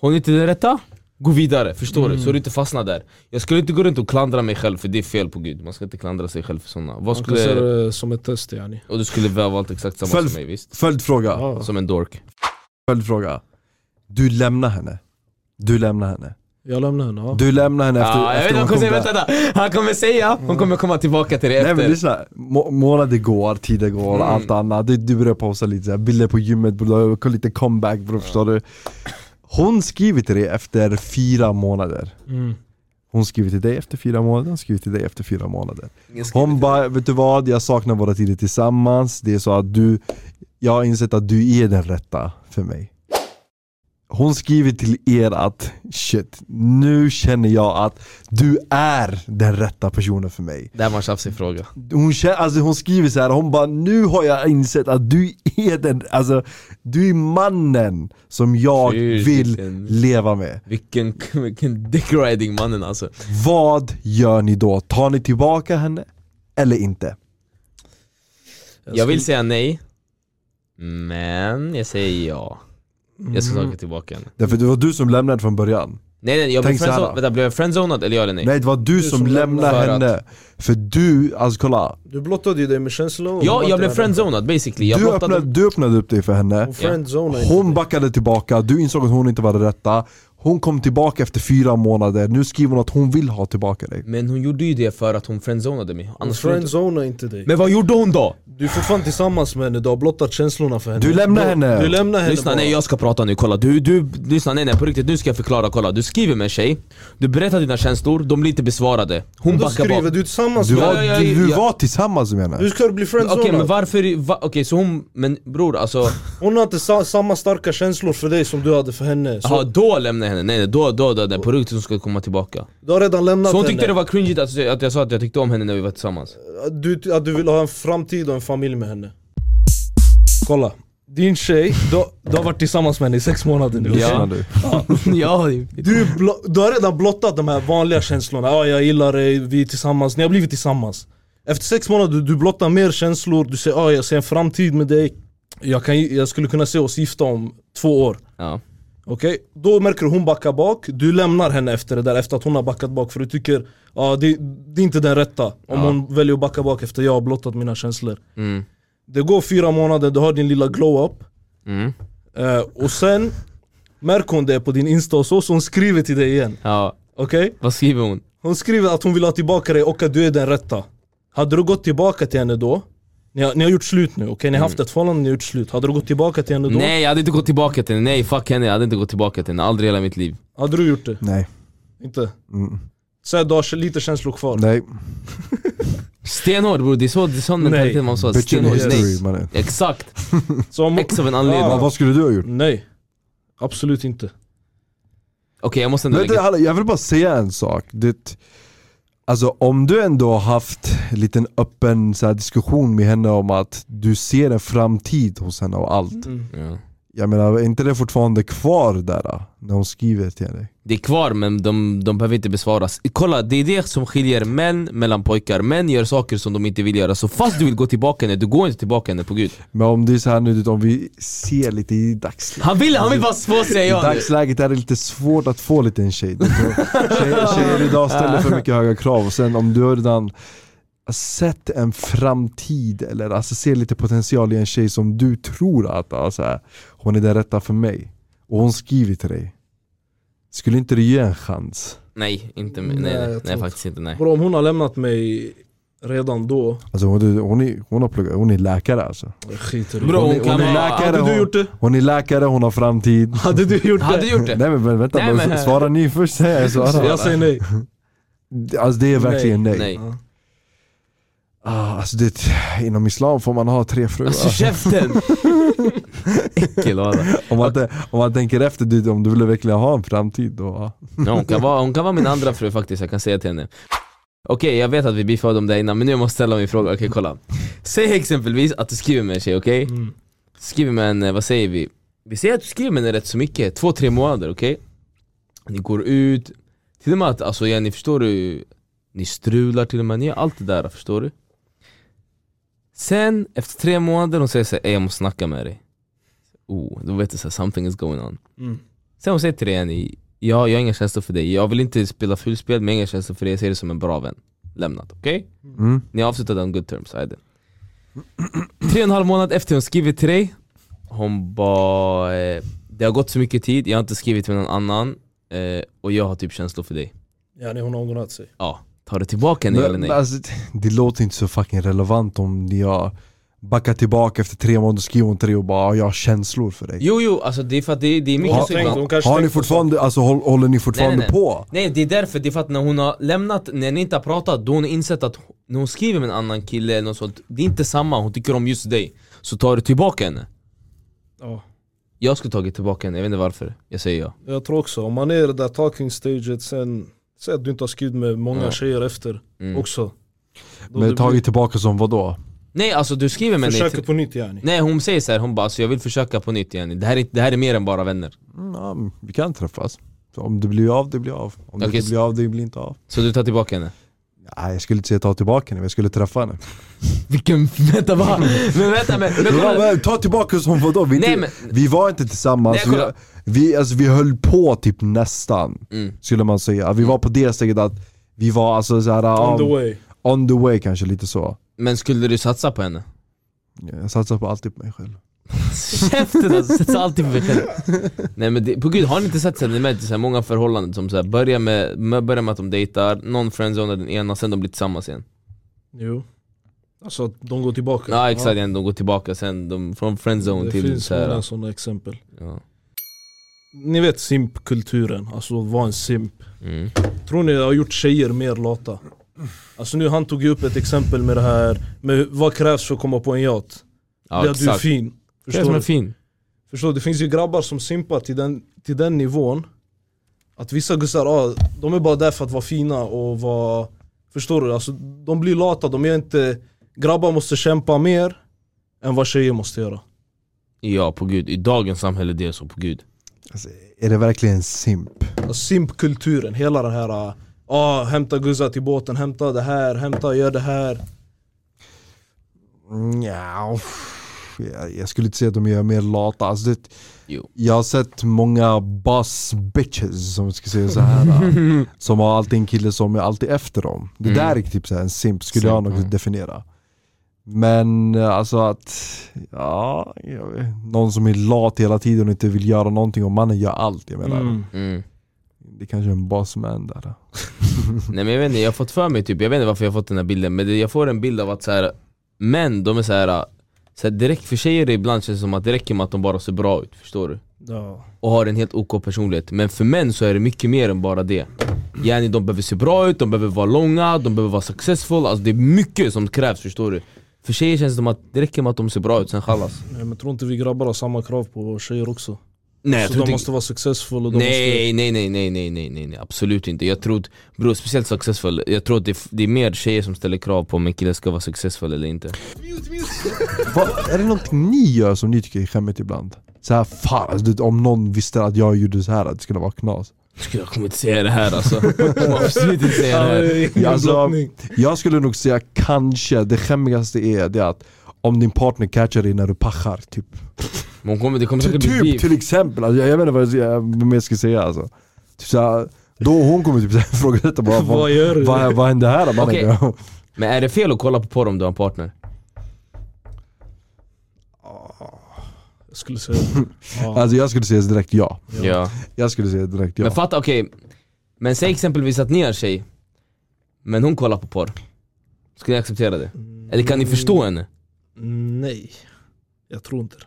hon är inte den rätta, gå vidare, förstår
Mm.
du? Så du inte fastnar där Jag skulle inte gå runt och klandra mig själv för det är fel på gud, man ska inte klandra sig själv för sådana Vad
man kan se
skulle,
det som ett test yani.
och du skulle väl ha valt exakt samma
Följ-
som mig visst?
Följdfråga,
Ja.
Som en dork
följdfråga Du lämnar henne Du lämnar henne
Jag lämnar henne, ja.
Du lämnar henne efter,
Ja, jag vet
efter
inte,
hon kom
han kommer säga,
där. Mm.
vänta, vänta. Han kommer säga, hon kommer komma tillbaka till
Nej
det efter
men lyssna, Må- månader går, tider går,
Mm.
allt annat. Du, du börjar posta lite så här, bilder på gymmet, bro, lite comeback bro, förstår du? Hon skriver till dig efter fyra månader.
Mm.
Hon skriver till dig efter fyra månader, hon skriver till dig efter fyra månader.
Jag skriver
Hon bara, vet du vad? Jag saknar våra tider tillsammans. Det är så att du, jag har insett att du är den rätta för mig. Hon skriver till er att shit, nu känner jag att du är den rätta personen för mig.
Det här var en tjafsig fråga
Hon, kä- alltså hon skriver så här, hon bara nu har jag insett att du är den, alltså du är mannen som jag
Fy,
vill
vilken,
leva med.
vilken, vilken dickriding mannen alltså
Vad gör ni då? Tar ni tillbaka henne eller inte?
Jag vill
skulle-
säga nej Men jag säger ja Jag ska
Mm.
snacka tillbaka henne
Därför det var du som lämnade från början.
Nej nej, jag blev
Tänk så här då.
friendzonad, vänta blev jag friendzonad eller ja eller nej?
Nej det var du, som,
som
lämnade
lämnade.
henne. För du, alltså kolla.
Du blottade ju dig med känslor.
Ja, jag blev friendzonad basically, jag
Du
blottade
öppnade, du öppnade upp dig för henne.
Hon friendzonade inte
Hon
dig.
backade tillbaka, du insåg att hon inte var den rätta. Hon kom tillbaka efter fyra månader, nu skriver hon att hon vill ha tillbaka dig.
Men hon gjorde ju det för att hon friendzonade mig
Hon
Annars skulle hon inte...
friendzonade inte dig.
Men vad gjorde hon då?
Du är fortfarande tillsammans med henne, du har blottat känslorna för henne.
Du lämnar
Bro,
henne.
Du lämnar henne
Lyssna,
bara.
nej jag ska prata nu, kolla du, du, lyssna nej nej på riktigt, nu ska jag förklara, kolla du skriver med en tjej Du berättar dina känslor, de blir inte besvarade Hon
Då
backar bak
skriver du tillsammans
Du
med
var,
Ja, ja, ja,
du, du
ja.
var tillsammans med henne.
Hur ska du bli
Okej
friendzonad?
men varför, va, okej så hon, men bror alltså,
Hon har inte sa samma starka känslor för dig som du hade för henne Så
aha, då lämnar jag henne, nej nej då, då, då, då på riktigt hon ska komma tillbaka
du har redan lämnat
Så hon
henne
tyckte det var cringeigt att, att jag sa att jag tyckte om henne när vi var tillsammans
att, du, att du vill ha en framtid och en familj med henne Kolla, din tjej, du, du har varit tillsammans med henne i sex månader nu
Lyssna
Ja.
nu.
Ja,
Du, är blo- du har redan blottat de här vanliga känslorna, ja jag gillar dig, vi är tillsammans, ni har blivit tillsammans Efter sex månader, du blottar mer känslor, du säger ja jag ser en framtid med dig jag, kan, ju- jag skulle kunna se oss gifta om två år
ja.
Okej, då märker du hon backar bak, du lämnar henne efter det där efter att hon har backat bak för du tycker ja det, det är inte den rätta om
Ja.
hon väljer att backa bak efter jag har blottat mina känslor.
Mm.
Det går fyra månader, du har din lilla glow-up
Mm.
eh, och sen märker hon det på din insta och så, så hon skriver till dig igen.
Ja,
Okej?
vad skriver hon?
Hon skriver att hon vill ha tillbaka dig och att du är den rätta. Hade du gått tillbaka till henne då? Ni har, ni har gjort slut nu, okej? Ni har haft ett förhållande, ni har gjort slut. Hade du gått tillbaka till henne då?
Mm. Nej jag hade inte gått tillbaka till henne, nej fuck henne, jag hade inte gått tillbaka till henne, aldrig i hela mitt liv
Hade du gjort det?
Nej.
Inte?
Mm.
Säg att du har lite känslor kvar.
Nej.
Stenhård bror, det är så, det är sån
Nej.
mentalitet man sa,
Bitch in
stenhård nej
history mannen.
Exakt,
Så om,
ex av en anledning
Vad-
Okej
Vad skulle du ha gjort?
nej, absolut inte.
jag måste ändå
Vänta,
lägga
hallå, jag vill bara säga en sak. Det, alltså om du ändå har haft en liten öppen så här, diskussion med henne om att du ser en framtid hos henne och allt.
Mm.
ja.
Jag menar, är inte det fortfarande kvar där då, när hon skriver till dig?
Det är kvar men de, de behöver inte besvaras Kolla, det är det som skiljer män mellan pojkar Män gör saker som de inte vill göra, så fast du vill gå tillbaka henne, du går inte tillbaka henne på gud
Men om det är så här nu, om vi ser lite i dagsläget.
Han vill, han vill bara få säga
I
ja nu.
dagsläget är det lite svårt att få lite en tjej. Det är så- Tjejer, tjejer idag ställer för mycket höga krav och sen om du har redan sett en framtid eller alltså ser lite potential i en tjej som du tror att alltså, här, hon är den rätta för mig och hon skriver till dig. Skulle inte du ge en chans?
Nej, inte, nej,
Nej, jag
nej,
tror
nej,
inte.
faktiskt inte nej
Bro, om hon har lämnat mig redan då,
Alltså hon, hon, är, hon har pluggat, hon är läkare alltså.
jag skiter i
Bro,
Hon är-
hon
hon
kan
är
vara...
läkare.
Hade du gjort det?
Hon är läkare, hon har framtid.
Hade du gjort
Hade
det?
du gjort
Nej
det?
men, men vänta,
Nej,
men,
men-
svara ni först säger jag svara.
Jag säger nej.
Alltså det är verkligen nej.
Nej
Ah, alltså det, inom islam får man ha tre fruar.
Alltså käften! Äckelhada
om, man, tän- om man tänker efter, det, om du vill verkligen ha en framtid då. ja.
Ja, hon, kan vara, hon kan vara min andra fru faktiskt, jag kan säga till henne Okej, jag vet att vi beefade om det här innan men nu måste jag ställa min fråga, okej kolla Säg exempelvis att du skriver med en tjej, okej?
Mm.
Skriver med en, eh, vad säger vi? Vi säger att du skriver med henne rätt så mycket, två, tre månader, okej? Ni går ut, till och med att, alltså ja, ni förstår du Ni strular till och med, ni gör allt det där, förstår du? Sen, efter tre månader, hon säger såhär "Ey, jag måste snacka med dig' Oh, då vet du såhär, something is going on
Mm.
Sen hon säger till dig Annie, ja, jag har inga känslor för dig, jag vill inte spela fulspel men jag har inga känslor för dig, jag ser dig som en bra vän Lämnat, okej?
Mm.
Ni avslutade on good terms, ajde Tre och en halv månad efter hon skriver till dig Hon bara, eh, det har gått så mycket tid, jag har inte skrivit med någon annan eh, Och jag har typ känslor för dig
Ja, nej, hon har ångrat sig.
Ja, tar du tillbaka henne eller
Men,
nej?
men alltså, det- det låter inte så fucking relevant om jag backar tillbaka efter tre månader och skriver hon till dig och bara "Ah, jag har känslor för dig.
Jo jo, alltså det är för att det, det är mycket
Har-
så ibland
hon kanske
Har ni
tänkte på
fortfarande, alltså, håll, håller ni fortfarande
Nej, nej,
på?
Nej det är därför, det är för att när hon har lämnat, när ni inte har pratat, då har hon insett att hon- när hon skriver med en annan kille eller något sånt, det är inte samma, hon tycker om just dig. Så tar du tillbaka henne.
Ja.
Jag skulle tagit tillbaka henne, jag vet inte varför. Jag säger ja.
Jag tror också, om man är i det där talking staget sen, säg att du inte har skrivit med många
Ja.
tjejer efter
Mm.
också. Då det
Men tagit tillbaka som vad då?
Nej alltså du skriver
blir,
med henne
försöker
till-
på nytt yani.
Nej hon säger så här, hon bara alltså, jag vill försöka på nytt igen, det här, är, det här är mer än bara vänner.
Mm, ja, men vi kan träffas. Så om det blir av, det blir av. Om det
Okej,
inte
så-
blir av, det blir inte av.
Så du tar tillbaka henne.
Nej, jag skulle inte säga ta tillbaka henne, men jag skulle träffa henne.
Vilken, vänta va? Men vänta men, men
Ja,
kolla.
men, ta tillbaka oss om vadå? Vi,
Nej,
inte,
men-
vi var inte tillsammans,
Nej, kolla.
vi, vi, alltså, vi höll på typ nästan,
Mm.
skulle man säga. Vi var på det steget att vi var alltså så här,
On
on,
the way.
on the way kanske lite så.
Men skulle du satsa på henne?
Jag satsar på alltid på mig själv.
Käften alltså, sätts alltid på mig själv. Nej men det, på gud, har ni inte sett så här, ni märker så här, många förhållanden som så här, börjar, med, med, börjar med att de dejtar, någon friendzonar den ena, sen de blir tillsammans igen.
Jo. Alltså att de går tillbaka.
Ja exakt, igen, de går tillbaka sen, de, från friendzone
Det
till
finns
så
många
här,
sådana exempel.
ja.
Ni vet simpkulturen, alltså vara en simp.
mm.
Tror ni det har gjort tjejer mer lata? Alltså nu han tog ju upp ett exempel med det här, med vad krävs för att komma på en yacht?
ja
det är att du är
exakt.
fin.
Det är som
Förstår
en
du?
fin.
Förstår du? Det finns ju grabbar som simpar till den, till den nivån Att vissa gussar, ah, de är bara där för att vara fina och vara Förstår du? Alltså, de blir lata, de är inte Grabbar måste kämpa mer än vad tjejer måste göra
Ja på gud, i dagens samhälle det är så på gud.
Alltså, är det verkligen simp?
alltså, Simpkulturen, hela den här ah, ah, hämta guzzar till båten, hämta det här, hämta, gör det här
Mm, Ja. jag, jag skulle inte säga att de är mer lata. Alltså det,
Jo.
jag har sett många boss bitches, som ska säga så här som har alltid en kille som är alltid efter dem. Det
Mm.
där är typ så här en simp, skulle jag
Simp,
nog
mm.
definiera. Men eh, alltså att, ja, jag vet, någon som är lat hela tiden och inte vill göra någonting och mannen gör allt. Jag menar,
Mm.
Mm.
det kanske är en bossman där.
Nej men jag vet inte, jag har fått för mig typ, jag vet inte varför jag har fått den här bilden Men det, jag får en bild av att så här, män de är så här, så här direkt för tjejer ibland känns det som att det räcker med att de bara ser bra ut, förstår du?
Ja.
och har en helt OK personlighet Men för män så är det mycket mer än bara det Yani de behöver se bra ut, de behöver vara långa, de behöver vara successful Alltså det är mycket som krävs förstår du För tjejer känns det som att det räcker med att de ser bra ut, sen chalas
Nej, men tror inte vi grabbar har samma krav på tjejer också?
Nej
så de måste vara successful och de
Nej, nej, nej, nej, nej, nej, nej, nej, absolut inte. Jag tror, att- bror, speciellt successful, jag tror att det, är f- det är mer tjejer som ställer krav på om en kille ska vara successful eller inte.
Va, är det något ni gör som ni tycker är skämmigt ibland? Så här, fan, alltså, du, om någon visste att jag gjorde så här, att det skulle vara knas.
Skulle jag kommer inte säga det här alltså. Jag kommer absolut inte säga det här.
måste...
Ja,
Ja,
alltså-
alltså...
Jag skulle nog säga kanske, det skämmigaste är det att om din partner catchar dig när du pachar typ.
Men hon kommer, det kommer
Ty-
säkert bli
Typ
beef.
till exempel, alltså, jag, jag vet inte vad jag, ska- vad mer jag ska säga alltså. Typ, så här, då hon kommer typ så här ifrågasätta bara
Vad
vad,
gör du?
vad, vad hände här mannen?
Okej. Men är det fel att kolla på porr om du har en partner?
Jag skulle säga... Ja.
Alltså jag skulle säga direkt ja.
Ja.
Jag skulle säga direkt ja.
Men fatta, okej. Men säg exempelvis att ni har en tjej, men hon kollar på porr. Skulle ni acceptera det?
Mm.
Eller kan ni förstå henne?
Nej. Jag tror inte det.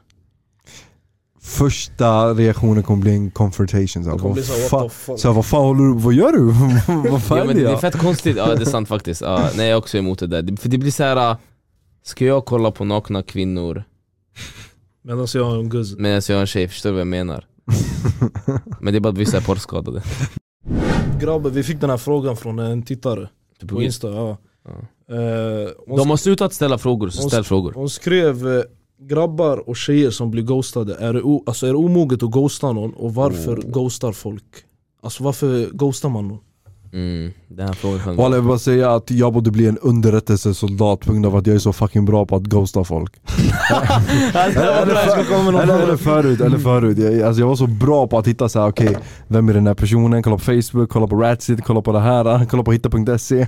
Första reaktionen kommer bli en confrontation. Så här,
Det kommer bli
vad,
såhär
fan,
what the fuck.
så här, vad fan håller du, vad gör du? vad fan
Ja men
är
det
det?
är fett konstigt, ja det är sant faktiskt. Ja, nej jag är också emot det där. Det- För det blir så här. äh, ska jag kolla på nakna kvinnor
Medan alltså, jag har en guzz.
medan jag är en tjej? Förstår du vad jag menar? Men det är bara att vissa är porrskadade.
Grabbar, vi fick den här frågan från en tittare
Typ,
på Insta. Ja.
Ja.
Eh, hon,
De har slutat ställa frågor, så
Hon-
ställ frågor.
hon skrev eh, Grabbar och tjejer som blir ghostade, är det, o- alltså, är det omoget att ghosta någon och varför
Oh.
ghostar folk? Alltså varför ghostar man någon?
Mm, den här frågan kan...
Walla jag vill bara säga att jag borde bli en underrättelsesoldat på grund av att jag är så fucking bra på att ghosta folk.
Alltså,
Eller, för, eller, eller förut,
Mm.
eller förut. Jag, alltså jag var så bra på att hitta så här, okej, vem är den här personen? Kolla på Facebook, kolla på Ratsit, kolla på det här, kolla på hitta.se.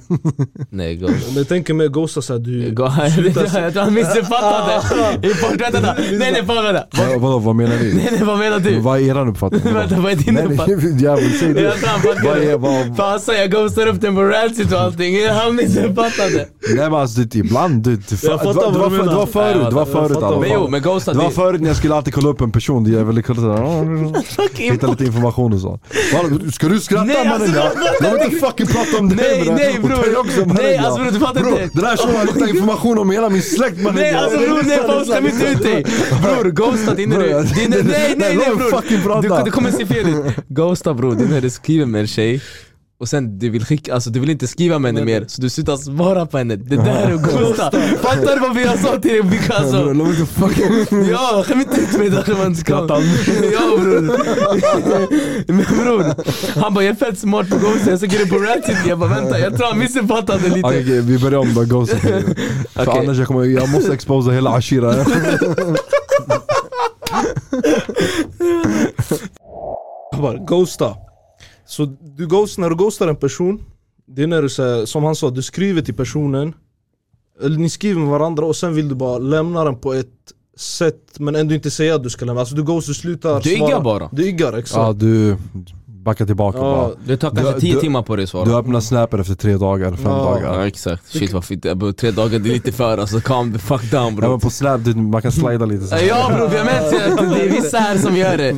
Nej, go.
Om jag tänker mig ghosta såhär, du...
Go. Jag tror han missuppfattade. I porr- vänta, vänta. Nej nej, fan vänta.
Vad, vadå, vad menar ni?
Nej nej, vad menar du?
Vad är eran uppfattning?
Vänta, vad är din
Nej, nej,
uppfattning?
Jävel, säg
Jag
det.
tror han
Vad är,
fattade.
vad,
Fan han sa jag ghostar upp den på Rancid och allting, han missuppfattade.
nej men alltså det är ibland, det, det,
Jag fattar
det, var- det,
vad
var,
du
för- det
menar.
var förut, det var förut i
fattar.
alla
Men jo,
fall.
men ghosta
Det var
det...
förut när jag skulle alltid kolla upp en person, det- liksom jag ville kolla såhär, hitta lite information och så. Walla, Ska du skratta
Nej, alltså,
mannen? Jag- Jag vill inte fucking prata om det
Nej,
med det.
nej,
Och
bror.
dig också, mannen,
Nej
ja.
alltså bror du fattar
Bro,
inte.
den här shunon har hittat information om hela min släkt mannen
Nej alltså bror, nej fan skäm inte ut dig! Bror, ghosta det är när
Bror,
du... det är när- Nej nej nej
låt mig fucking
bror!
prata.
Du, du kommer se fel ut! Ghosta bror, det är när du skriver med en tjej och sen du vill skicka, alltså du vill inte skriva med henne mer så du slutar svara på henne, det där är att ghosta! Fattar du varför jag sa till dig Bicka
Bror,
alltså?
låt mig inte fucking...
Ja, skäm inte ut mig där man ska...
Skratta.
Ja bror! Men bror, han bara jag är fett smart på ghosta, jag söker det på Ratchet, jag bara vänta jag tror han missuppfattade lite
Okej okej, vi börjar om då, Ghost För
Okej.
annars jag kommer, jag måste exposa hela Ashira
Grabbar, ghosta. Så du ghost, när du ghostar en person, det är när du säger, som han sa, du skriver till personen, eller ni skriver med varandra och sen vill du bara lämna den på ett sätt men ändå inte säga att du ska lämna. Alltså du ghostar, du slutar
Du
svara.
iggar bara.
Du iggar,
Ja
exakt.
du, backa tillbaka
Ja,
bara
Du tar
Du-
kanske 10
du-
timmar på dig att svara
Du öppnar snapper efter tre dagar, fem
Ja.
dagar
Ja exakt, shit vad fint, Jag bara, tre dagar det är lite för alltså, calm the fuck down
Ja men
bro
på snap, du, man kan slida lite så. här.
Ja bror, jag menar att det är vissa här som gör det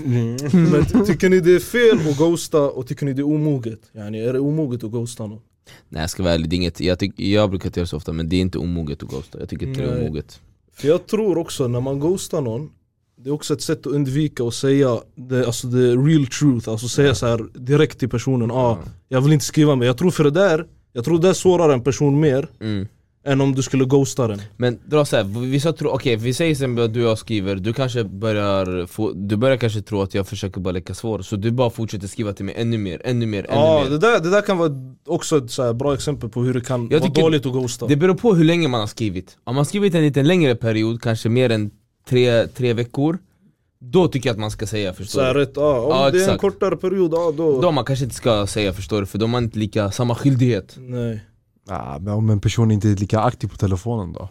Men ty- tycker ni det är fel att ghosta och tycker ni det är omoget? Yani, är det omoget att ghosta någon?
Nej jag ska vara ärlig, det är inget, jag, tyck, jag brukar inte göra så ofta men det är inte omoget att ghosta, jag tycker inte det är
Nej.
omoget
För jag tror också när man ghostar någon Det är också ett sätt att undvika att säga the, alltså the real truth Alltså säga så här direkt till personen ah, Jag vill inte skriva mer Jag tror för det där Jag tror det där sårar en person mer
mm.
Än om du skulle ghosta den
Men dra såhär, vissa tror, okej vi säger sen att du och jag skriver, du kanske börjar få, du börjar kanske tro att jag försöker bara leka svår Så du bara fortsätter skriva till mig ännu mer, ännu mer, ännu
Ja,
mer
det där, det där kan vara också ett så här bra exempel på hur det kan
Jag
vara
tycker-
dåligt att ghosta
Det beror på hur länge man har skrivit Om man har skrivit en lite längre period, kanske mer än tre, tre veckor Då tycker jag att man ska säga
Så
förstår
här,
du
rätt, ah, om
Ja,
det är en
exakt.
kortare period, ah, då...
Då man kanske inte ska säga förstår du, för de har inte lika samma skyldighet
Nej.
Ja, men om en person inte är lika aktiv på telefonen då?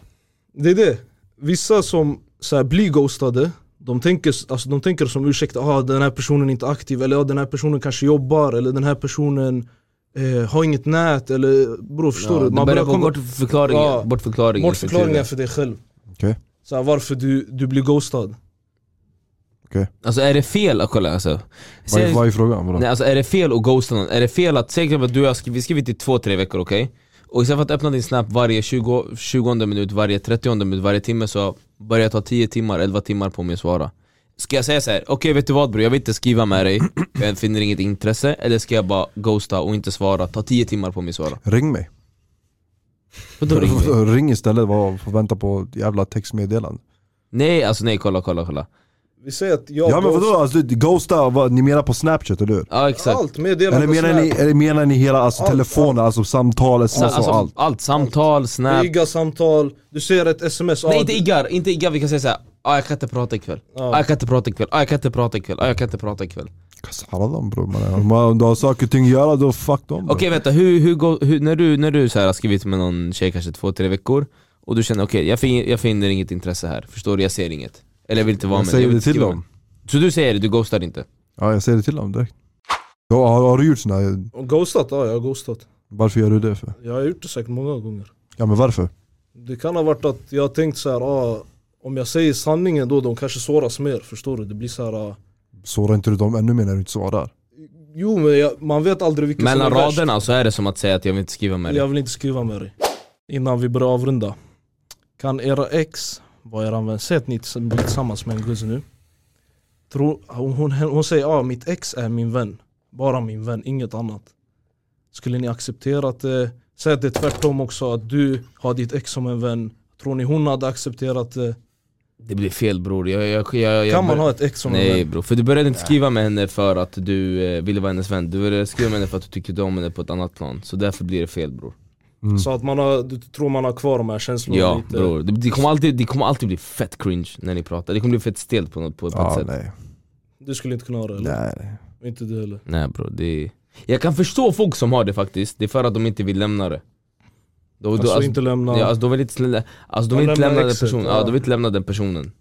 Det är det. Vissa som så här, blir ghostade, de tänker, alltså, de tänker som ursäkt, ah, den här personen är inte aktiv, eller ah, den här personen kanske jobbar, eller den här personen eh, har inget nät, eller bror förstår
Ja,
du?
det börjar gå
komma-
bort förklaringar,
Ja.
bort förklaringar,
bortförklaringar för dig själv.
Okej.
Så här, varför du, du blir ghostad.
Alltså är det fel att kolla alltså?
Vad,
Säg-
är- vad är frågan? Vadå?
Nej alltså är det fel att ghosta någon? Är det fel att, säg till exempel att du har skrivit, skrivit i två, tre veckor, okej? Och istället för att öppna din snap varje 20, 20 minut, varje 30 minut, varje timme så börjar jag ta 10 timmar, 11 timmar på mig att svara Ska jag säga så här, okej vet du vad bror, jag vill inte skriva med dig, för jag finner inget intresse Eller ska jag bara ghosta och inte svara, ta 10 timmar på mig att svara?
Ring mig.
Vadå ringer vi?
Ring istället, vad får vänta på ett jävla textmeddelande.
Nej alltså nej, kolla kolla kolla
Vi säger att jag
Ja men vadå,
ghostar.
alltså, ghosta, vad, ni menar på snapchat eller hur?
Ja exakt,
Allt meddelande
Eller
på
menar
Snap.
ni, eller menar ni hela alltså,
Allt,
telefonen, alltså samtal,
Sa-
sms
alltså,
och allt?
allt. samtal, snap
Digga samtal, du ser ett sms, ah,
Nej inte
du-
iggar, inte iggar, vi kan säga såhär ah, jag kan inte prata ikväll,
Ja.
ah, jag kan inte prata ikväll, ah, jag kan inte prata ikväll, ah, jag kan inte prata ikväll
Kassa dem bror mannen. Om man- om du har saker och ting att göra då fuck dem bror.
Okej vänta, hur, hur, går- hur, när du, när du så här har skrivit med någon tjej kanske två, tre veckor och du känner okej, jag, fin, jag finner inget intresse här, förstår du? Jag ser inget. Eller jag vill inte vara
Jag
med dig,
säger
vill
det
inte
till
skriva
dem.
med dig. Så du säger det, du ghostar inte?
Ja jag säger det till dem direkt. Ja, har, har du gjort sådana,
Ghostat? Ja, jag har ghostat.
varför gör du det för?
Jag har gjort det säkert många gånger.
Ja men varför?
Det kan ha varit att jag har tänkt så här, ah, om jag säger sanningen då, de kanske såras mer, förstår du? Det blir så här, ah,
Sårar inte du dem ännu mer när du inte svarar?
jo men jag, man vet aldrig vilken
Mellan
som är värst.
raderna så är det som att säga att jag vill inte skriva med dig.
Jag vill inte skriva med dig. Innan vi börjar avrunda. Kan era ex vara eran vän? Säg att ni tillsamm- blir tillsammans med en guzz nu. Tror, hon, hon, hon säger ja, ah, mitt ex är min vän. Bara min vän, inget annat. Skulle ni acceptera att det, säg att det är tvärtom också, att du har ditt ex som en vän. Tror ni hon hade accepterat det?
Det blir fel bror. Jag, jag, jag, jag
Kan man ha ett ex som en
Nej
vän?
bror, för du började inte skriva med henne för att du eh, ville vara hennes vän. Du började skriva med henne för att du tyckte om henne på ett annat plan. Så därför blir det fel bror.
Mm.
Så att man har, du tror man har kvar de här känslorna
Mm. Ja
lite.
bror, det, det, kommer alltid, det kommer alltid bli fett cringe när ni pratar. Det kommer bli fett stelt på något på, på ett
Ja
sätt.
nej.
Du skulle inte kunna ha det eller?
nej. nej.
Inte du heller.
Nej bro, det Jag kan förstå folk som har det faktiskt, det är för att de inte vill lämna det då, då,
Alltså,
alltså,
inte lämna.
ja, alltså, de vill inte, slä- alltså, de
De
vill inte
lämnar
lämna den
exet,
personen, ja.
ja.
de vill inte lämna den personen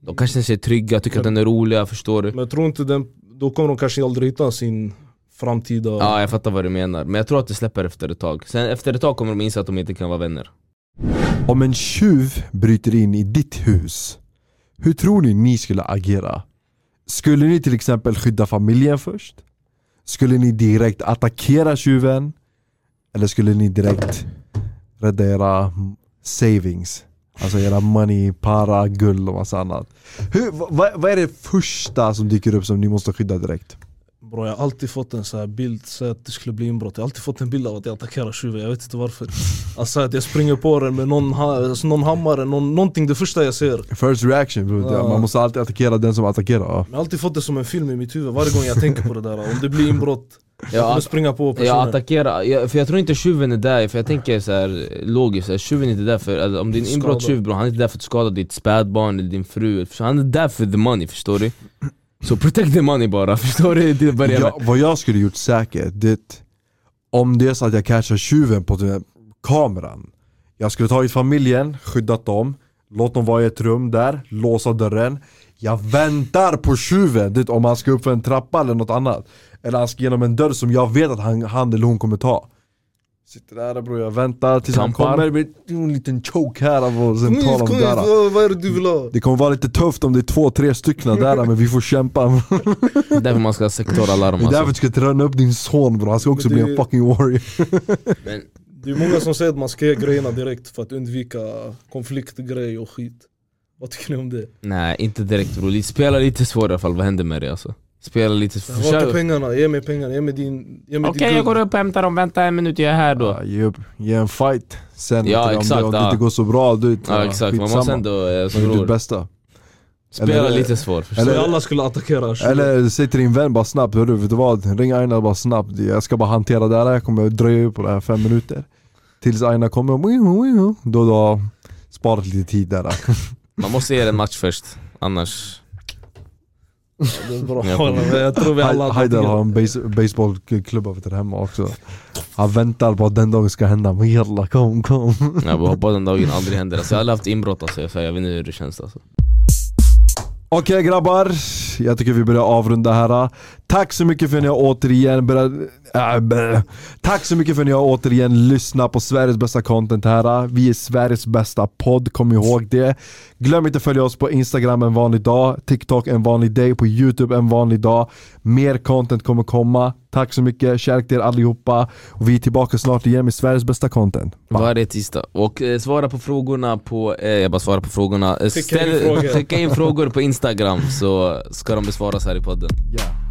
De kanske känner sig trygga, tycker att den är rolig, jag förstår det
Men jag tror inte den, då kommer de kanske aldrig hitta sin framtida...
Ja jag fattar vad du menar, men jag tror att det släpper efter ett tag Sen efter ett tag kommer de inse att de inte kan vara vänner
Om en tjuv bryter in i ditt hus, hur tror ni ni skulle agera? Skulle ni till exempel skydda familjen först? Skulle ni direkt attackera tjuven? Eller skulle ni direkt rädda era savings? Alltså era money, para, guld och massa annat. Hur, va- va- vad är det första som dyker upp som ni måste skydda direkt?
Bro, jag har alltid fått en så här bild, säg att det skulle bli inbrott, jag har alltid fått en bild av att jag attackerar tjuven, jag vet inte varför Alltså att jag springer på den med någon, ha, alltså, någon hammare, någon, någonting det första jag ser Men
First reaction bro.
Ja.
man måste alltid attackera den som attackerar. ja.
jag har alltid fått det som en film i mitt huvud varje gång jag tänker på det där, om det blir inbrott Jag kommer
att-
springa på
Jag
personen
attackerar, jag, för jag tror inte tjuven är där, för jag tänker så här logiskt, så här, tjuven är inte där för, eller, om det är en
Skada.
inbrottstjuv bror, han är inte där för att skada ditt spädbarn eller din fru, så han är där för the money förstår du? Så protect the money bara, förstår du? Till att börja med.
Ja, vad jag skulle gjort säkert, det om det är så att jag catchar tjuven på den här kameran Jag skulle tagit familjen, skyddat dem, låt dem vara i ett rum där, låsa dörren Jag väntar på tjuven, det, om han ska upp för en trappa eller något annat Eller han ska genom en dörr som jag vet att han, han eller hon kommer ta Sitter där bror, jag väntar tills
Trampar.
han kommer med en liten choke här av och sen
Kom
tar
hit,
de
Mm, kom hit,
där
vad, vad är det du vill ha?
Det kommer vara lite tufft om det är två, tre stycken där men vi får kämpa
Det är därför man ska ha sektoralarm
Det är därför
alltså.
du ska träna upp din son bror, han ska också
Men
bli
det-
en fucking warrior
Men,
Det är många som säger att man ska ge grejerna direkt för att undvika konfliktgrej och skit Vad tycker ni om det?
nej inte direkt bror, spela lite svårare i alla fall, vad händer med dig alltså? Spela lite,
Vart är
försök
pengarna? Ge mig pengarna, ge mig din... Ge mig
Okej
din
jag
guld.
går upp och hämtar dem, vänta en minut jag är här då
Ja, ge, upp. ge en fight sen
Ja,
om det-
exakt,
om det
ja.
inte går så bra, du vet,
Ja exakt, man måste
Man
ändå, eh, så
gör ditt
bror,
bästa
spela
eller-
lite svårt förstår
Så
Eller-
alla skulle attackera tjuven.
Eller säg till din vän bara snabbt, hörru vet du vad? Ring Aina bara snabbt, jag ska bara hantera det här, jag kommer dröja på det här fem minuter Tills Aina kommer, wiho, wiho. då då sparat lite tid där
Man måste ge den match först, annars...
Det är bra.
Jag kommer-
Men jag tror vi alla
Heidel har en base, baseballklubba där hemma också. Han väntar på att den dagen ska hända. Men jalla kom, kom.
Jag bara hoppas den dagen aldrig händer. Alltså, jag har aldrig haft inbrott alltså, jag, säger, jag vet inte hur det känns alltså.
Okej grabbar, jag tycker vi börjar avrunda här. Tack så mycket för att ni har återigen börjat, äh, bäh. Tack så mycket för att ni har återigen lyssnat på Sveriges bästa content här. Vi är Sveriges bästa podd, kom ihåg det. Glöm inte att följa oss på Instagram en vanlig dag, TikTok en vanlig dag, på YouTube en vanlig dag. Mer content kommer komma. Tack så mycket, kärlek till er allihopa. Och vi är tillbaka snart igen med Sveriges bästa content. Bye.
Varje tisdag. Och eh, svara på frågorna på... Eh, jag bara svarar på frågorna. Eh,
Skicka in frågor.
skicka in frågor på Instagram så ska de besvaras här i podden.
Yeah.